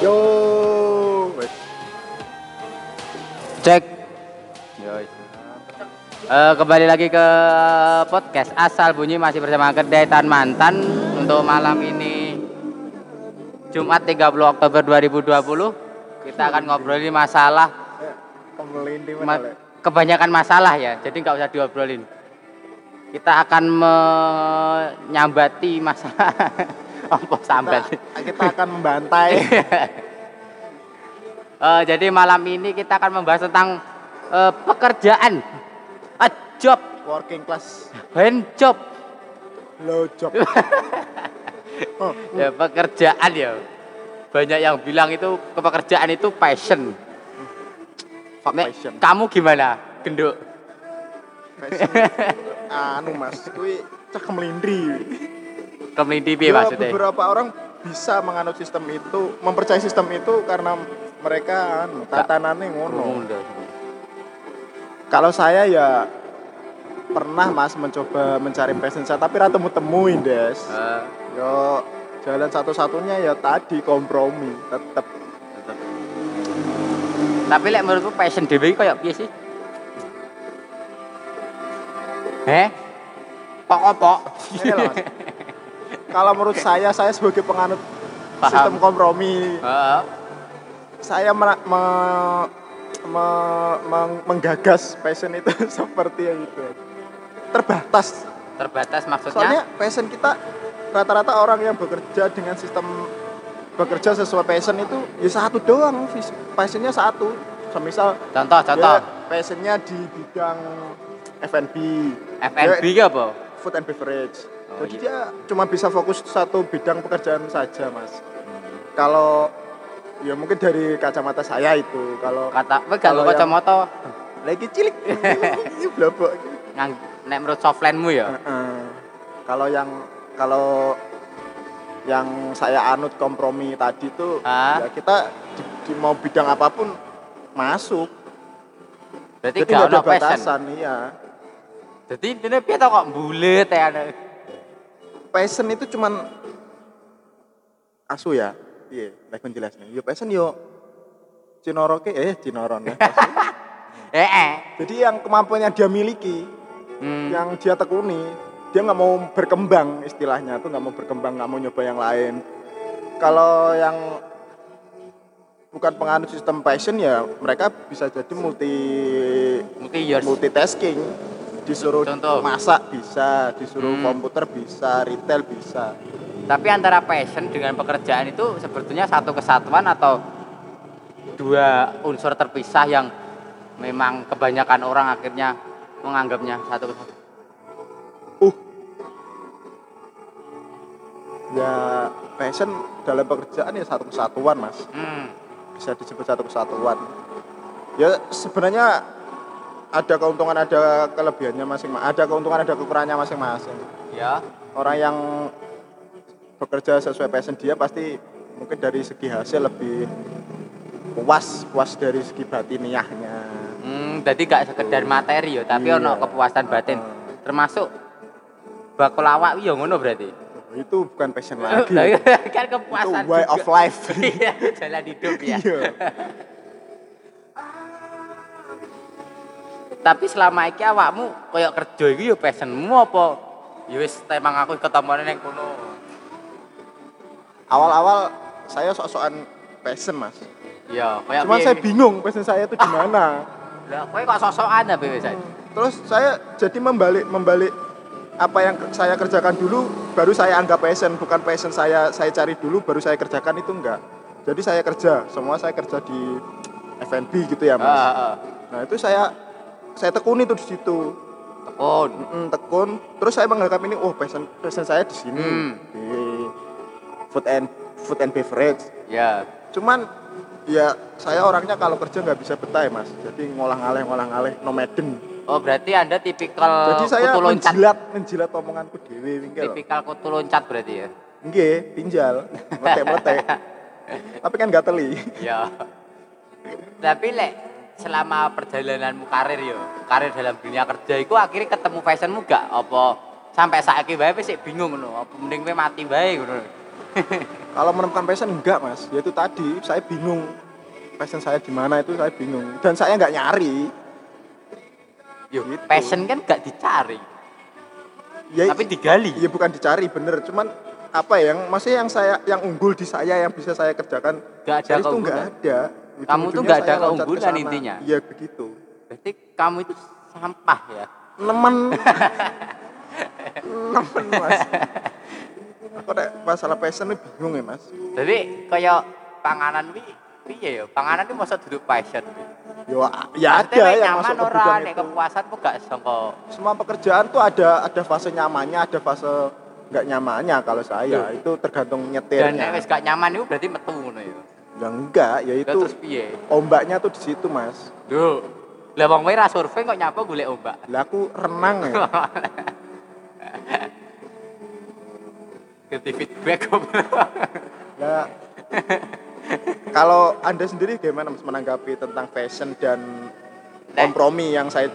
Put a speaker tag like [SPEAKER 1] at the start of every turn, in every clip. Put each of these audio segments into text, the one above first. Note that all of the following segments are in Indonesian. [SPEAKER 1] Yo.
[SPEAKER 2] Cek. Eh, kembali lagi ke podcast asal bunyi masih bersama kedai tan mantan untuk malam ini Jumat 30 Oktober 2020 kita akan ngobrolin masalah
[SPEAKER 1] Ngomelin di
[SPEAKER 2] ma-
[SPEAKER 1] mana? Le?
[SPEAKER 2] kebanyakan masalah ya jadi nggak usah diobrolin kita akan menyambati masalah apa sambat
[SPEAKER 1] Kita, Nah, kita akan membantai.
[SPEAKER 2] Eh, jadi malam ini kita akan membahas tentang eh, pekerjaan, a job,
[SPEAKER 1] Working class
[SPEAKER 2] hand job,
[SPEAKER 1] low job. Oh,
[SPEAKER 2] ya pekerjaan ya. Banyak yang bilang itu kepekerjaan itu passion.
[SPEAKER 1] fuck
[SPEAKER 2] Nek,
[SPEAKER 1] passion.
[SPEAKER 2] Kamu gimana, genduk?
[SPEAKER 1] Passion. anu mas, kui cah kemelindri.
[SPEAKER 2] Kemelindi piye
[SPEAKER 1] Ya,
[SPEAKER 2] maksudnya?
[SPEAKER 1] beberapa orang bisa menganut sistem itu, mempercayai sistem itu karena mereka anu, tatanannya ngono. Kalau saya ya pernah mas mencoba mencari passion saya, tapi rata temuin des.
[SPEAKER 2] Eh,
[SPEAKER 1] Yo jalan satu-satunya ya tadi kompromi tetep
[SPEAKER 2] tetep. Tapi lek menurutku passion dhewe iki koyo piye sih? Eh? Pok-pok.
[SPEAKER 1] Ini loh, Iya Mas. Kalau menurut saya saya sebagai penganut
[SPEAKER 2] Paham.
[SPEAKER 1] sistem kompromi
[SPEAKER 2] Heeh.
[SPEAKER 1] saya mera- me- me- meng- menggagas passion itu seperti itu terbatas
[SPEAKER 2] Terbatas maksudnya?
[SPEAKER 1] soalnya passion kita rata-rata orang yang bekerja dengan sistem bekerja sesuai passion itu ya satu doang vis- passionnya satu semisal
[SPEAKER 2] Contoh, contoh.
[SPEAKER 1] dia Iya, passionnya di bidang F&B
[SPEAKER 2] FNB
[SPEAKER 1] Dia
[SPEAKER 2] ki apa?
[SPEAKER 1] food and beverage
[SPEAKER 2] Oh,
[SPEAKER 1] jadi
[SPEAKER 2] iya.
[SPEAKER 1] dia cuma bisa fokus satu bidang pekerjaan saja mas kalau ya mungkin dari kacamata saya itu kalau
[SPEAKER 2] Kata, kowe gak
[SPEAKER 1] Kalau
[SPEAKER 2] nggo kacamata
[SPEAKER 1] lagi cilik ini blabok.
[SPEAKER 2] ngang nek menurut softlandmu ya.
[SPEAKER 1] Heeh. kalau yang kalau yang saya anut kompromi tadi tuh
[SPEAKER 2] Ah.
[SPEAKER 1] ya kita di, di mau bidang apapun masuk
[SPEAKER 2] Berarti
[SPEAKER 1] jadi
[SPEAKER 2] gak
[SPEAKER 1] nggak
[SPEAKER 2] ono
[SPEAKER 1] ada
[SPEAKER 2] passion.
[SPEAKER 1] batasan iya
[SPEAKER 2] Dadi intine piye to kok bulet ya. ane.
[SPEAKER 1] passion itu cuman asu ya iya lek penjelasannya yo passion yo cinoroke eh cinoron ya.
[SPEAKER 2] Eh eh.
[SPEAKER 1] jadi yang kemampuan yang dia miliki
[SPEAKER 2] Hmm.
[SPEAKER 1] yang dia tekuni dia nggak mau berkembang istilahnya tuh nggak mau berkembang nggak mau nyoba yang lain kalau yang bukan penganut sistem passion ya mereka bisa jadi multi
[SPEAKER 2] Mesti iya yours.
[SPEAKER 1] multitasking disuruh
[SPEAKER 2] Contoh.
[SPEAKER 1] masak bisa disuruh
[SPEAKER 2] Hmm.
[SPEAKER 1] komputer bisa retail bisa
[SPEAKER 2] Tapi antara passion dengan pekerjaan itu sebetulnya satu kesatuan atau dua unsur terpisah yang memang kebanyakan orang akhirnya menganggapnya satu kesatuan.
[SPEAKER 1] uh ya passion dalam pekerjaan ya satu kesatuan mas
[SPEAKER 2] Hmm.
[SPEAKER 1] bisa disebut satu kesatuan. Ya sebenarnya ada keuntungan ada kelebihannya masing-masing, ada keuntungan ada kekurangannya masing-masing.
[SPEAKER 2] Ya.
[SPEAKER 1] Orang yang bekerja sesuai passion dia pasti mungkin dari segi hasil lebih puas, puas dari segi batiniahnya.
[SPEAKER 2] Hmm, jadi gak sekedar materi ya, tapi
[SPEAKER 1] Iya.
[SPEAKER 2] ono kepuasan batin.
[SPEAKER 1] Hmm.
[SPEAKER 2] Termasuk bakul awak ya ngono berarti.
[SPEAKER 1] Itu bukan passion Eh, lagi.
[SPEAKER 2] Lah,
[SPEAKER 1] itu
[SPEAKER 2] kan kepuasan
[SPEAKER 1] way
[SPEAKER 2] juga.
[SPEAKER 1] of life.
[SPEAKER 2] Iya, jalan hidup ya.
[SPEAKER 1] Iya.
[SPEAKER 2] Tapi selama iki awakmu koyo kerja iki ya passionmu apa? Ya wis temang aku ketomone ning kono.
[SPEAKER 1] Awal-awal saya sok-sokan passion, Mas.
[SPEAKER 2] Ya, koyo
[SPEAKER 1] Cuman saya bingung passion saya itu di mana.
[SPEAKER 2] Lah, kowe kok sosokan apa wis?
[SPEAKER 1] Terus saya jadi membalik membalik apa yang ke- saya kerjakan dulu baru saya anggap passion bukan passion saya saya cari dulu baru saya kerjakan itu enggak. Jadi saya kerja, semua saya kerja di F&B gitu ya, Mas.
[SPEAKER 2] Heeh.
[SPEAKER 1] Nah, itu saya saya tekuni tuh di situ.
[SPEAKER 2] Tekun.
[SPEAKER 1] Mm, tekun, terus saya menganggap ini oh passion passion saya di sini
[SPEAKER 2] Hmm.
[SPEAKER 1] di food and food and beverage.
[SPEAKER 2] Ya.
[SPEAKER 1] Cuman ya saya orangnya kalau kerja nggak bisa betah ya, Mas. Jadi ngolah-ngaleh ngolah-ngaleh nomaden.
[SPEAKER 2] Oh, berarti Anda tipikal
[SPEAKER 1] Jadi saya
[SPEAKER 2] Eh, kutu loncat.
[SPEAKER 1] menjilat menjilat omonganku dewe wingi lho.
[SPEAKER 2] Tipikal kutu loncat berarti ya.
[SPEAKER 1] Nggih, pinjal, meletek-meletek. Tapi kan gak teli.
[SPEAKER 2] Ya. Tapi lek selama perjalananmu karir yo, karir dalam dunia kerja iku akhirnya ketemu fashionmu gak apa sampai saiki wae wis sik bingung ngono, apa mending kowe mati wae ngono.
[SPEAKER 1] Kalau menemukan passion enggak mas, yaitu tadi saya bingung passion saya di mana itu saya bingung dan saya nggak nyari.
[SPEAKER 2] Yo,
[SPEAKER 1] Gitu.
[SPEAKER 2] passion kan gak dicari,
[SPEAKER 1] Ya,
[SPEAKER 2] tapi digali.
[SPEAKER 1] ya bukan dicari bener, cuman apa yang maksudnya yang saya yang unggul di saya yang bisa saya kerjakan
[SPEAKER 2] Nggak ada
[SPEAKER 1] saya itu nggak
[SPEAKER 2] keunggulan.
[SPEAKER 1] ada.
[SPEAKER 2] Kamu tuh
[SPEAKER 1] Ujung-ujungnya
[SPEAKER 2] nggak ada
[SPEAKER 1] saya loncat ke
[SPEAKER 2] keunggulan
[SPEAKER 1] sana.
[SPEAKER 2] intinya.
[SPEAKER 1] Iya begitu.
[SPEAKER 2] Berarti kamu itu sampah ya.
[SPEAKER 1] Nemen. Nemen mas. Aku nek masalah passion ini bingung ya mas.
[SPEAKER 2] Jadi kayak panganan wi piye ya? Panganan itu masa duduk passion. Wi.
[SPEAKER 1] Ya, ya
[SPEAKER 2] Maksudnya
[SPEAKER 1] ada
[SPEAKER 2] nek
[SPEAKER 1] yang
[SPEAKER 2] nyaman
[SPEAKER 1] masuk ke
[SPEAKER 2] ora
[SPEAKER 1] bidang
[SPEAKER 2] nek
[SPEAKER 1] itu.
[SPEAKER 2] kepuasan kok gak sangka
[SPEAKER 1] Semua pekerjaan tuh ada ada fase nyamannya, ada fase nggak nyamannya kalau saya.
[SPEAKER 2] Tuh.
[SPEAKER 1] Itu tergantung
[SPEAKER 2] Iya. dan nek
[SPEAKER 1] nyetirnya.
[SPEAKER 2] wis gak nyaman itu berarti metu ngono ya.
[SPEAKER 1] Ya enggak, ya
[SPEAKER 2] Lah
[SPEAKER 1] itu
[SPEAKER 2] terus piye?
[SPEAKER 1] ombaknya tuh di situ mas.
[SPEAKER 2] Duh. Lah wong kowe ra survei kok nyapa golek ombak.
[SPEAKER 1] Lah aku renang ya.
[SPEAKER 2] Ganti feedback kok.
[SPEAKER 1] Lah kalau anda sendiri gimana mas menanggapi tentang fashion dan
[SPEAKER 2] Nek.
[SPEAKER 1] kompromi yang saya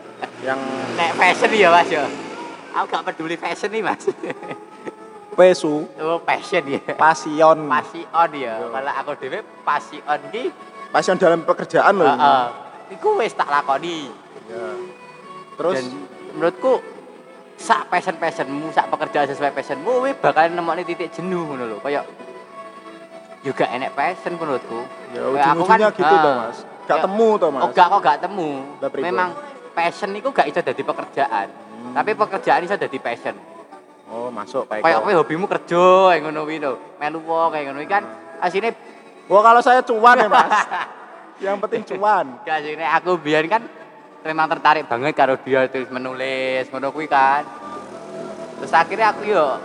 [SPEAKER 1] yang
[SPEAKER 2] Nek fashion ya Mas ya. Aku gak peduli fashion nih Mas.
[SPEAKER 1] pesu
[SPEAKER 2] Oh passion ya.
[SPEAKER 1] pasion
[SPEAKER 2] Pasi on ya. Kalau aku dhewe pasi on ki
[SPEAKER 1] pasion dalam pekerjaan loh. ini.
[SPEAKER 2] heeh. Iku wis tak lakoni.
[SPEAKER 1] Ya. Terus
[SPEAKER 2] Dan menurutku sak passion passionmu sak pekerjaan sesuai passionmu wih bakal nemokne titik jenuh ngono lho kayak juga enek passion menurutku
[SPEAKER 1] ya
[SPEAKER 2] Kayak aku
[SPEAKER 1] ujung-ujungnya
[SPEAKER 2] kan,
[SPEAKER 1] gitu
[SPEAKER 2] ah,
[SPEAKER 1] toh mas. Gak
[SPEAKER 2] kayak-
[SPEAKER 1] temu toh mas.
[SPEAKER 2] oh gak kok gak temu
[SPEAKER 1] Lah, pripun? Hmm.
[SPEAKER 2] memang passion itu gak bisa jadi pekerjaan tapi pekerjaan bisa jadi passion
[SPEAKER 1] Oh masuk Pak
[SPEAKER 2] kayak
[SPEAKER 1] Eko.
[SPEAKER 2] kowe hobimu kerja yang ngono kuwi lho melu wong kayak ngono kuwi kan asine
[SPEAKER 1] Wah kalau saya cuan ya Hmm. mas. yang penting cuan.
[SPEAKER 2] gak asine aku biar kan memang tertarik banget kalau dia tulis menulis ngono kuwi kan terus akhirnya aku yo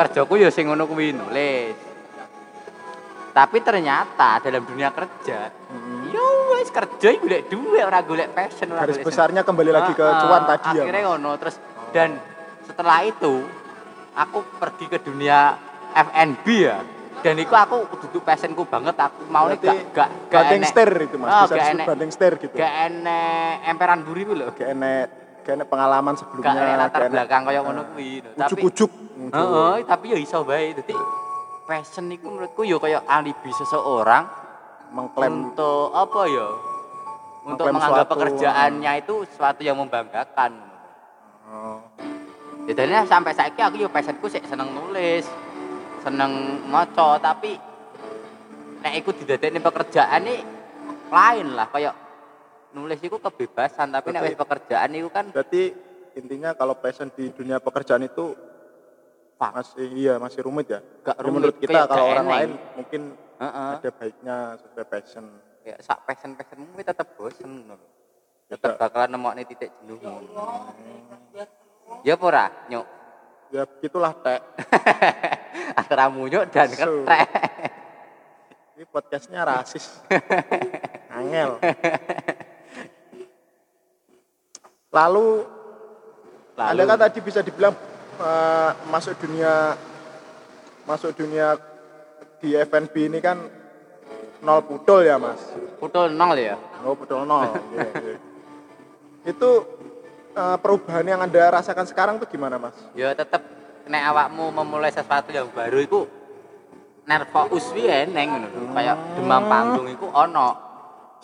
[SPEAKER 2] kerjaku yo sing ngono kuwi nulis tapi ternyata dalam dunia kerja
[SPEAKER 1] Mm-mm.
[SPEAKER 2] yo wis kerja iku golek duit ora golek passion
[SPEAKER 1] Hmm.
[SPEAKER 2] ora
[SPEAKER 1] Garis
[SPEAKER 2] golek sen-
[SPEAKER 1] besarnya kembali lagi ke
[SPEAKER 2] Ah,
[SPEAKER 1] cuan tadi ya.
[SPEAKER 2] akhirnya
[SPEAKER 1] Mas.
[SPEAKER 2] ngono terus dan setelah itu aku pergi ke dunia F&B ya dan itu aku duduk passionku banget aku mau nih
[SPEAKER 1] Berarti
[SPEAKER 2] gak gak gak
[SPEAKER 1] banding
[SPEAKER 2] enek-
[SPEAKER 1] stir itu mas. Bisa
[SPEAKER 2] Ah, gak
[SPEAKER 1] disebut
[SPEAKER 2] enek
[SPEAKER 1] banding stir gitu.
[SPEAKER 2] gak enek emperan buri ku lho
[SPEAKER 1] Gak enek, gak enek pengalaman sebelumnya.
[SPEAKER 2] gak enek latar
[SPEAKER 1] gak enek-
[SPEAKER 2] belakang kaya
[SPEAKER 1] Ah.
[SPEAKER 2] ngono kuwi lho. tapi
[SPEAKER 1] Ujuk-ujuk.
[SPEAKER 2] heeh tapi ya iso bae dadi passion itu menurutku ya kaya alibi seseorang
[SPEAKER 1] Mengklaim
[SPEAKER 2] untuk apa ya untuk
[SPEAKER 1] Mengklaim
[SPEAKER 2] menganggap
[SPEAKER 1] suatu-
[SPEAKER 2] pekerjaannya itu sesuatu yang membanggakan
[SPEAKER 1] Oh,
[SPEAKER 2] ya dari sampai saiki aku yo passionku sik seneng nulis seneng maca tapi nek iku didadekne pekerjaan nih lain lah kayak nulis itu kebebasan tapi nek wis pekerjaan itu kan
[SPEAKER 1] Berarti intinya kalau passion di dunia pekerjaan itu
[SPEAKER 2] Pak.
[SPEAKER 1] masih iya masih rumit ya.
[SPEAKER 2] Gak
[SPEAKER 1] Tapi
[SPEAKER 2] rumit,
[SPEAKER 1] menurut kita
[SPEAKER 2] kayak
[SPEAKER 1] kalau
[SPEAKER 2] gak
[SPEAKER 1] orang
[SPEAKER 2] eneng.
[SPEAKER 1] lain mungkin
[SPEAKER 2] heeh
[SPEAKER 1] ada baiknya sesuai passion.
[SPEAKER 2] ya sak passion-passionmu kuwi tetep bosen ngono lho tetep
[SPEAKER 1] Tidak.
[SPEAKER 2] bakalan nemokne titik jenuh ya apa ora nyuk
[SPEAKER 1] Ya begitulah Tek.
[SPEAKER 2] antara munyuk dan
[SPEAKER 1] So.
[SPEAKER 2] ketek
[SPEAKER 1] Ini podcastnya rasis. Angel. Lalu, Anda kan tadi bisa dibilang eh, masuk dunia masuk dunia di F&B ini kan nol pudol ya mas.
[SPEAKER 2] putul nol ya
[SPEAKER 1] Oh pudol nol. Iya, iya. Itu eh, perubahan yang anda rasakan sekarang tuh gimana mas?
[SPEAKER 2] ya tetep nek awakmu memulai sesuatu yang baru iku nervo uswi eneng ngono lho kayak demam
[SPEAKER 1] Hmm.
[SPEAKER 2] panggung iku ono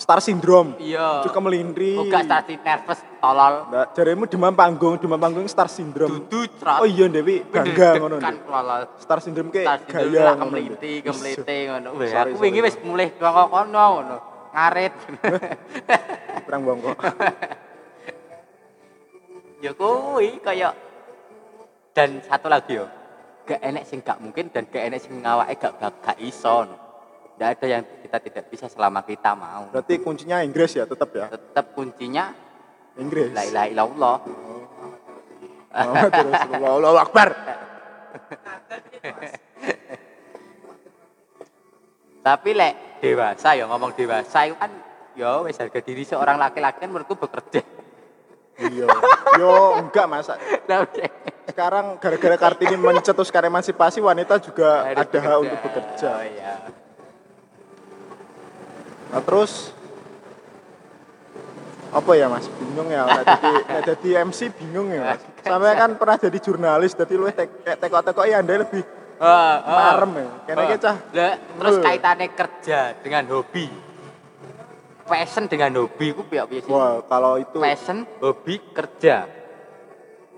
[SPEAKER 1] Star syndrome.
[SPEAKER 2] iya
[SPEAKER 1] Cukup melindri.
[SPEAKER 2] uga tadi nervous tolol
[SPEAKER 1] Nggak, jaremu demam panggung, demam panggung star syndrome.
[SPEAKER 2] dudu trot
[SPEAKER 1] Oh iya Dewi, bangga ngono.
[SPEAKER 2] kan
[SPEAKER 1] Dewi.
[SPEAKER 2] tolol
[SPEAKER 1] Star syndrome
[SPEAKER 2] tas
[SPEAKER 1] kayak
[SPEAKER 2] dulu
[SPEAKER 1] gaya
[SPEAKER 2] lah
[SPEAKER 1] ngono.
[SPEAKER 2] kemliti
[SPEAKER 1] Dewi.
[SPEAKER 2] kemliti ngono Weh,
[SPEAKER 1] Sorry,
[SPEAKER 2] aku wingi
[SPEAKER 1] sorry.
[SPEAKER 2] wis mulih kono kono ngono ngarit
[SPEAKER 1] Ih, Kurang bongkok.
[SPEAKER 2] ya kuwi kaya dan satu lagi yo gak enek sing gak mungkin dan gak enek sing ngawake gak bak- gak iso tidak ada yang kita tidak bisa selama kita mau
[SPEAKER 1] Berarti kuncinya Inggris ya tetap ya.
[SPEAKER 2] tetap kuncinya
[SPEAKER 1] Inggris. Oh,
[SPEAKER 2] la ilaha illallah
[SPEAKER 1] Muhammad Rasulullah Allahu Akbar.
[SPEAKER 2] tapi lek dewasa ya ngomong dewasa itu kan ya wis harga diri seorang laki-laki kan menurutku bekerja
[SPEAKER 1] Iya. Yo enggak masa. Sekarang gara-gara Kartini mencetuskan emansipasi wanita juga ada
[SPEAKER 2] Harus
[SPEAKER 1] hak
[SPEAKER 2] bekerja.
[SPEAKER 1] untuk bekerja.
[SPEAKER 2] Oh, iya.
[SPEAKER 1] Nah, terus apa ya mas bingung ya nek jadi nek jadi MC bingung ya mas sampai kan pernah jadi jurnalis jadi lu tek kayak teko teko ya anda lebih
[SPEAKER 2] Heeh, heeh.
[SPEAKER 1] Marem ya. Kene iki
[SPEAKER 2] Heeh.
[SPEAKER 1] cah.
[SPEAKER 2] Oh, Lah, terus
[SPEAKER 1] Eh.
[SPEAKER 2] kaitannya kerja dengan hobi. Passion dengan hobi ku piye piye sih?
[SPEAKER 1] Wah, kalau itu
[SPEAKER 2] Passion, hobi, kerja.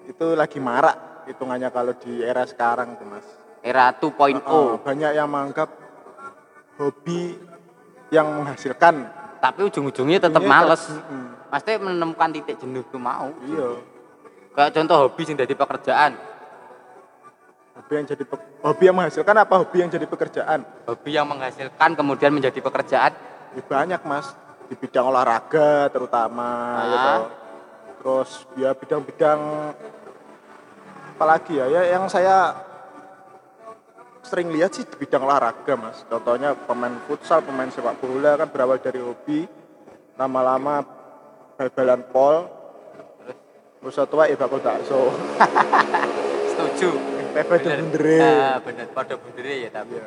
[SPEAKER 1] itu lagi marak hitungannya kalau di era sekarang tuh mas.
[SPEAKER 2] Era 2.0.
[SPEAKER 1] Oh, banyak yang menganggap hobi yang menghasilkan.
[SPEAKER 2] Tapi ujung-ujungnya tetap
[SPEAKER 1] Ini
[SPEAKER 2] males.
[SPEAKER 1] ter- Mm-mm.
[SPEAKER 2] Pasti menemukan titik jenuh ku mau.
[SPEAKER 1] Iya.
[SPEAKER 2] Kayak contoh hobi sing dadi pekerjaan.
[SPEAKER 1] Hobi yang jadi pe- hobi yang menghasilkan apa hobi yang jadi pekerjaan?
[SPEAKER 2] Hobi yang menghasilkan kemudian menjadi pekerjaan.
[SPEAKER 1] Ya, banyak mas di bidang olahraga terutama
[SPEAKER 2] Ah.
[SPEAKER 1] gitu. terus ya bidang-bidang apalagi ya, ya yang saya sering lihat sih di bidang olahraga mas contohnya pemain futsal pemain sepak bola kan berawal dari hobi lama-lama bal-balan pol terus tua ya bakul bakso
[SPEAKER 2] Setuju.
[SPEAKER 1] pepe
[SPEAKER 2] Bener.
[SPEAKER 1] dendere
[SPEAKER 2] Ah, bener, pada bundere ya tapi.
[SPEAKER 1] Iya.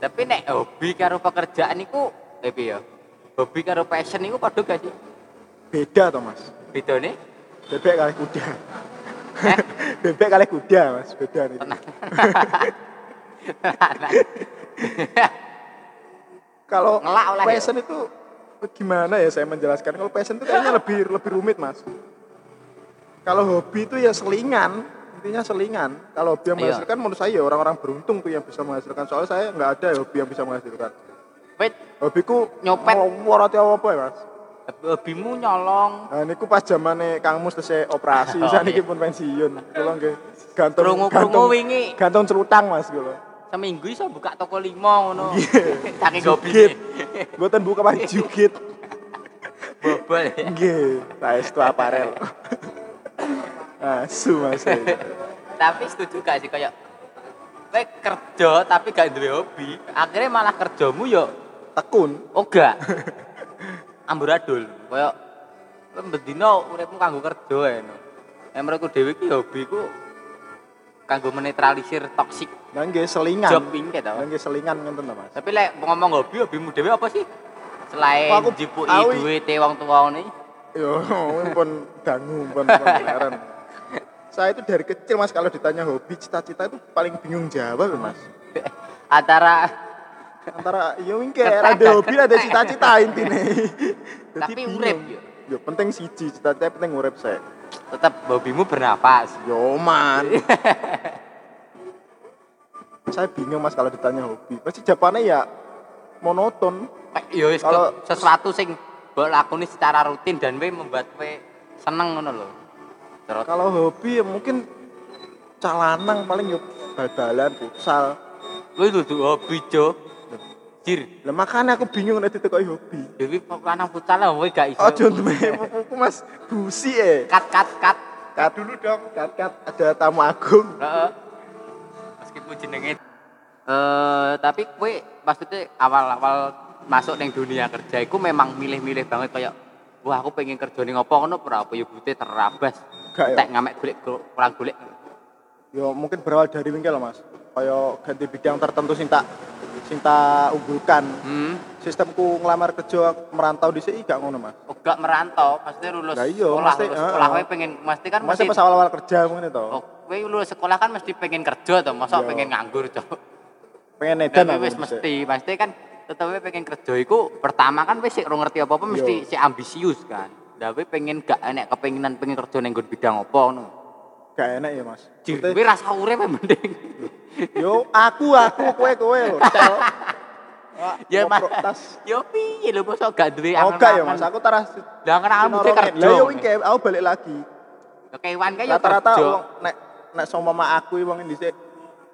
[SPEAKER 2] Tapi nek hobi karo pekerjaan niku eh piye ya? Hobi karo passion niku padha gak sih?
[SPEAKER 1] beda toh mas
[SPEAKER 2] Bedane
[SPEAKER 1] bebek kali kuda
[SPEAKER 2] Eh?
[SPEAKER 1] bebek kali kuda mas beda nih
[SPEAKER 2] Nah,
[SPEAKER 1] kalau
[SPEAKER 2] Ngelak oleh ya?
[SPEAKER 1] passion itu gimana ya saya menjelaskan kalau passion itu kayaknya lebih lebih rumit mas kalau hobi itu ya selingan intinya selingan kalau hobi yang
[SPEAKER 2] Iya.
[SPEAKER 1] menghasilkan menurut saya ya orang-orang beruntung tuh yang bisa menghasilkan soalnya saya nggak ada ya hobi yang bisa menghasilkan
[SPEAKER 2] wait,
[SPEAKER 1] hobiku
[SPEAKER 2] Nyopet.
[SPEAKER 1] morotnya apa ya mas
[SPEAKER 2] hobimu nyolong.
[SPEAKER 1] nah niku pas zamannya Kang Mus tesih operasi
[SPEAKER 2] Oh,
[SPEAKER 1] saya
[SPEAKER 2] iya.
[SPEAKER 1] niki pun pensiun kula nggih gantung
[SPEAKER 2] Krungu-krungu
[SPEAKER 1] gantung
[SPEAKER 2] wingi.
[SPEAKER 1] gantung celutang mas kula
[SPEAKER 2] Seminggu iso buka toko lima ngono.
[SPEAKER 1] Iya.
[SPEAKER 2] Saking
[SPEAKER 1] jugit
[SPEAKER 2] gobine.
[SPEAKER 1] mboten buka paling jugit
[SPEAKER 2] Bobol. ya.
[SPEAKER 1] Nggih, saya itu aparel. Asu mas. ya.
[SPEAKER 2] Tapi setuju gak sih kayak kowe kerja tapi gak duwe hobi, akhirnya malah kerjamu yo
[SPEAKER 1] Tekun.
[SPEAKER 2] Oga. Amburadul. Kayak kowe bendino uripmu kanggo kerja ae. no. Nek menurutku dhewe iki hobiku kanggo menetralisir toxic
[SPEAKER 1] Nah nggih selingan.
[SPEAKER 2] job iki
[SPEAKER 1] Nah
[SPEAKER 2] to.
[SPEAKER 1] nggih selingan ngenten ta mas.
[SPEAKER 2] Tapi lek ngomong hobi, hobimu dhewe apa sih? Selain
[SPEAKER 1] Aku-
[SPEAKER 2] jipuki
[SPEAKER 1] aku-
[SPEAKER 2] duwite wong tuwa ngene.
[SPEAKER 1] Yo, pun dangu pun kemarin. Saya itu dari kecil mas kalau ditanya hobi cita-cita itu paling bingung jawab ya, mas.
[SPEAKER 2] Antara
[SPEAKER 1] Antara iya yo wingke ada hobi ada cita-cita intinya. Jadi
[SPEAKER 2] Tapi
[SPEAKER 1] bingung.
[SPEAKER 2] urip, yo.
[SPEAKER 1] Yo penting siji cita-cita penting urip saya.
[SPEAKER 2] tetep hobimu bernafas.
[SPEAKER 1] Yo man. saya bingung mas kalau ditanya hobi. Pasti jawabannya ya monoton.
[SPEAKER 2] Kayak, Yo wis
[SPEAKER 1] Kalau-
[SPEAKER 2] kok sesuatu sing mbok lakoni secara rutin dan kowe membuat kowe seneng ngono lho. Terus
[SPEAKER 1] Kalau hobi ya mungkin calanang paling yuk bal-balan, futsal.
[SPEAKER 2] kowe dudu hobi, Jo. Jir.
[SPEAKER 1] Lah makanya aku bingung nek ditekoki hobi.
[SPEAKER 2] Dewi kok lanang pucal lah kowe gak iso.
[SPEAKER 1] Oh, contohnya pupuku Mas Busi eh.
[SPEAKER 2] Kat kat kat.
[SPEAKER 1] Kat dulu dong, kat kat ada tamu agung.
[SPEAKER 2] Heeh. Meskipun jenenge eh tapi kowe maksudnya awal-awal masuk ning dunia kerja iku memang milih-milih banget kayak wah aku pengen kerja ning apa ngono ora apa ya bute terabas.
[SPEAKER 1] Gak ya?
[SPEAKER 2] Tek ngamek golek kurang golek.
[SPEAKER 1] Yo mungkin berawal dari wingkel loh, Mas. Kayak ganti bidang tertentu sing tak sing tak unggulkan.
[SPEAKER 2] Hmm.
[SPEAKER 1] Sistemku ngelamar kerja merantau di sini gak ngono, Mas.
[SPEAKER 2] Uga merantau, maksudnya lulus
[SPEAKER 1] Lah iya,
[SPEAKER 2] sekolah,
[SPEAKER 1] mesti,
[SPEAKER 2] lulus
[SPEAKER 1] heeh.
[SPEAKER 2] sekolah kowe pengen mesti kan
[SPEAKER 1] Masih
[SPEAKER 2] mesti
[SPEAKER 1] pas awal-awal kerja mungkin itu.
[SPEAKER 2] oh, kowe lulus sekolah kan mesti pengen kerja to, masa
[SPEAKER 1] Iya. Kan
[SPEAKER 2] pengen nganggur to.
[SPEAKER 1] Pengen edan
[SPEAKER 2] Dan
[SPEAKER 1] aku
[SPEAKER 2] wis
[SPEAKER 1] dhisik.
[SPEAKER 2] mesti, mesti kan tetep wae pengen kerja iku pertama kan wis sik ora ngerti apa-apa mesti
[SPEAKER 1] Yo.
[SPEAKER 2] sik ambisius kan. Lah wae pengen gak enek kepenginan pengen kerja ning nggon bidang apa ngono.
[SPEAKER 1] Gak enak ya, Mas. Maksudnya-
[SPEAKER 2] Kuwi rasa urip yang penting.
[SPEAKER 1] Yo, aku, aku, kowe, kowe, lho. Tel. Wah,
[SPEAKER 2] ya mas.
[SPEAKER 1] ngoprok tas.
[SPEAKER 2] Yo piye lho mosok gak duwe
[SPEAKER 1] Oh, enggak ya, Mas. Aku taras.
[SPEAKER 2] Lah kan mesti
[SPEAKER 1] sinorongin.
[SPEAKER 2] kerja.
[SPEAKER 1] Lah, yo wing kayak aku balik lagi.
[SPEAKER 2] Yo kewan kae yo
[SPEAKER 1] Rata-rata
[SPEAKER 2] kerja.
[SPEAKER 1] wong nek nek sama aku wong dhisik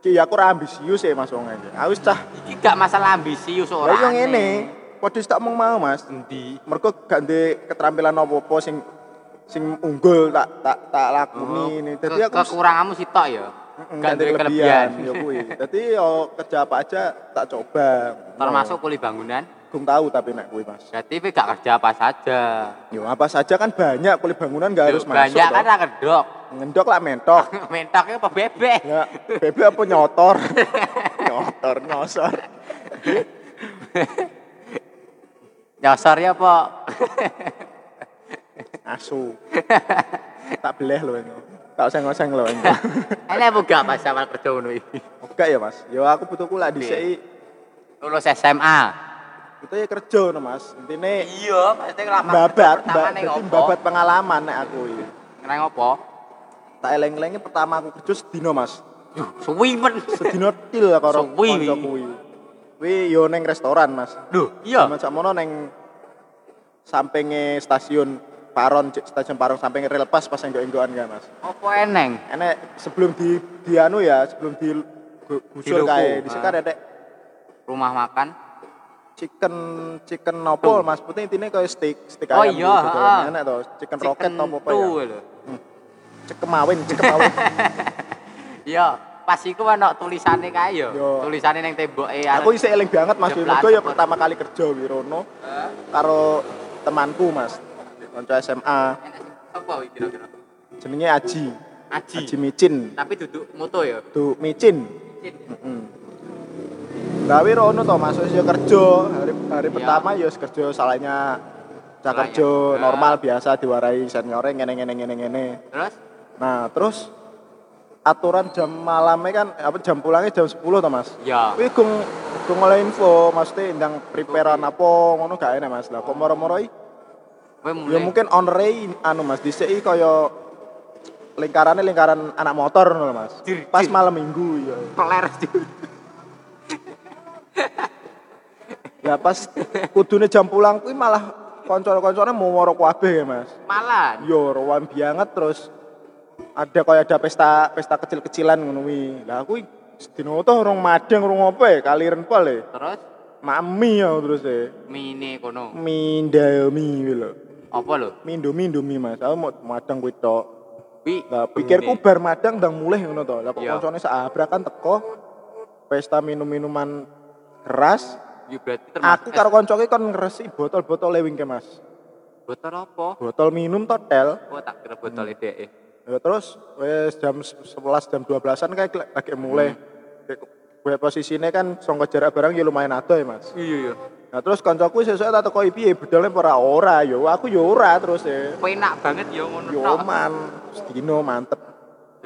[SPEAKER 1] ki aku ora ambisius ya Mas wong aja. Aku wis cah.
[SPEAKER 2] Iki gak masalah ambisius
[SPEAKER 1] Lah
[SPEAKER 2] ora.
[SPEAKER 1] yo
[SPEAKER 2] aneh.
[SPEAKER 1] ngene, padha wis tak mung mau Mas.
[SPEAKER 2] Endi?
[SPEAKER 1] Mergo gak ndek keterampilan apa-apa sing sing unggul tak tak tak lakoni ini. Dadi
[SPEAKER 2] Oh. Ke-
[SPEAKER 1] aku wis-
[SPEAKER 2] kekuranganmu sitok yo.
[SPEAKER 1] Mm-mm, Iya,
[SPEAKER 2] Gak
[SPEAKER 1] nggak
[SPEAKER 2] duwe kelebihan.
[SPEAKER 1] yo kuwi. Dadi yo kerja apa aja tak coba.
[SPEAKER 2] Termasuk kuli bangunan.
[SPEAKER 1] Gung tahu tapi nek kuwi Mas.
[SPEAKER 2] Berarti kowe gak kerja apa saja.
[SPEAKER 1] Yo apa saja kan banyak kulit bangunan gak harus masuk.
[SPEAKER 2] Banyak kan
[SPEAKER 1] toh.
[SPEAKER 2] ra kedok.
[SPEAKER 1] Ngendok lah mentok.
[SPEAKER 2] mentoknya apa bebek
[SPEAKER 1] Ya, bebek apa nyotor? nyotor, nyosor.
[SPEAKER 2] Ya, nyosornya apa
[SPEAKER 1] Asu. tak beleh lho ini. Tak usah ngoseng lho ini.
[SPEAKER 2] ini aku gak pas sama kerja ngono iki
[SPEAKER 1] Apa Gak ya mas? Ya aku butuh kula di sini.
[SPEAKER 2] Lulus SMA.
[SPEAKER 1] Itu ya kerja no mas. Intinya
[SPEAKER 2] Iya, pasti lama.
[SPEAKER 1] babat,
[SPEAKER 2] pertama
[SPEAKER 1] mbak,
[SPEAKER 2] ning
[SPEAKER 1] jadi
[SPEAKER 2] opo?
[SPEAKER 1] babat pengalaman nek aku ini.
[SPEAKER 2] Nang opo?
[SPEAKER 1] Tak eleng-elengnya pertama aku kerja sedino mas.
[SPEAKER 2] Duh, suwi men.
[SPEAKER 1] Sedino til lah karo
[SPEAKER 2] Suwi.
[SPEAKER 1] kanca kuwi. Kuwi yo neng restoran mas.
[SPEAKER 2] Duh, iya.
[SPEAKER 1] Cuman sakmono neng sampinge stasiun Paron, cek stasiun Paron sampinge rel pas pas enggok-enggokan kan mas.
[SPEAKER 2] Opo eneng?
[SPEAKER 1] Enek sebelum di dianu ya, sebelum di gu- gusur
[SPEAKER 2] Diluku,
[SPEAKER 1] kae. Dhisik kan
[SPEAKER 2] ah.
[SPEAKER 1] ada
[SPEAKER 2] Rumah makan.
[SPEAKER 1] chicken chicken nopo mas putih intinya kayak steak steak
[SPEAKER 2] Oh
[SPEAKER 1] ayam
[SPEAKER 2] iya,
[SPEAKER 1] gitu
[SPEAKER 2] ha.
[SPEAKER 1] enak tuh chicken, roket nopo apa ya
[SPEAKER 2] tuh lho.
[SPEAKER 1] cekemawin cekemawin
[SPEAKER 2] Iya, pas iku ana tulisane kae yo.
[SPEAKER 1] Yo.
[SPEAKER 2] Tulisane ning temboke anu
[SPEAKER 1] aku isih eling banget mas
[SPEAKER 2] Jeblas,
[SPEAKER 1] Mergo ya
[SPEAKER 2] jeblas.
[SPEAKER 1] pertama kali kerja Wirono
[SPEAKER 2] Hah?
[SPEAKER 1] karo temanku mas konco SMA
[SPEAKER 2] Enak sih. Apa iki kira-kira?
[SPEAKER 1] jenenge Aji
[SPEAKER 2] Aji.
[SPEAKER 1] Aji Micin
[SPEAKER 2] Tapi duduk moto ya.
[SPEAKER 1] tuh Micin mm Nah, Wirono toh mas wis ya kerja hari hari
[SPEAKER 2] Iya.
[SPEAKER 1] pertama ya wis kerja salahnya cak
[SPEAKER 2] Salahnya.
[SPEAKER 1] kerja
[SPEAKER 2] Ah.
[SPEAKER 1] normal biasa diwarai seniornya ngene ngene ngene ngene
[SPEAKER 2] Terus
[SPEAKER 1] Nah, terus aturan jam malamnya kan apa jam pulangnya jam 10 to, Mas.
[SPEAKER 2] ya.
[SPEAKER 1] Kuwi gong gong oleh info, maksudnya ndang preparean apa ngono gak enak, Mas. Lah kok moro-moro iki?
[SPEAKER 2] Kowe
[SPEAKER 1] Ya
[SPEAKER 2] mulai.
[SPEAKER 1] mungkin on ray anu, Mas. Dhisik iki kaya lingkarannya lingkaran anak motor ngono lho, Mas.
[SPEAKER 2] Jir,
[SPEAKER 1] Pas
[SPEAKER 2] jir.
[SPEAKER 1] malam Minggu ya.
[SPEAKER 2] peler.
[SPEAKER 1] Lah Ya, pas kudune jam pulang kuwi malah konco-koncone mau moro kabeh, Mas.
[SPEAKER 2] Malan.
[SPEAKER 1] Yo, rowan banget terus ada kayak ada pesta pesta kecil-kecilan ngono kuwi. Lah aku sedino to rong madeng rong apa ya kali renpol ya.
[SPEAKER 2] Terus
[SPEAKER 1] Mami ya terus e.
[SPEAKER 2] mini kono.
[SPEAKER 1] Mindomi kuwi lho.
[SPEAKER 2] Apa lho?
[SPEAKER 1] Mindomi Indomie Mas. Aku mau madeng kuwi tok.
[SPEAKER 2] Wi.
[SPEAKER 1] Lah pikirku bar madang ndang mulih ngono to. Lah kok
[SPEAKER 2] Iya.
[SPEAKER 1] koncone seabrakan teko pesta minum-minuman keras.
[SPEAKER 2] Ya berarti termasuk
[SPEAKER 1] Aku karo koncoke kon ngresi botol-botol lewing ke Mas.
[SPEAKER 2] es botol apa?
[SPEAKER 1] Botol minum totel.
[SPEAKER 2] Oh tak kira botol ide. e?
[SPEAKER 1] Ya terus wes jam 11 jam 12-an kayak gila- lagi mulai. Kayak Gue posisinya kan songko jarak barang ya lumayan ada ya mas.
[SPEAKER 2] Iya iya.
[SPEAKER 1] Nah terus kancaku sesuk tak koi piye bedalnya para ora yo aku yo ora terus ya.
[SPEAKER 2] Penak banget ya ngono
[SPEAKER 1] Yo
[SPEAKER 2] tok.
[SPEAKER 1] man, Dino mantep.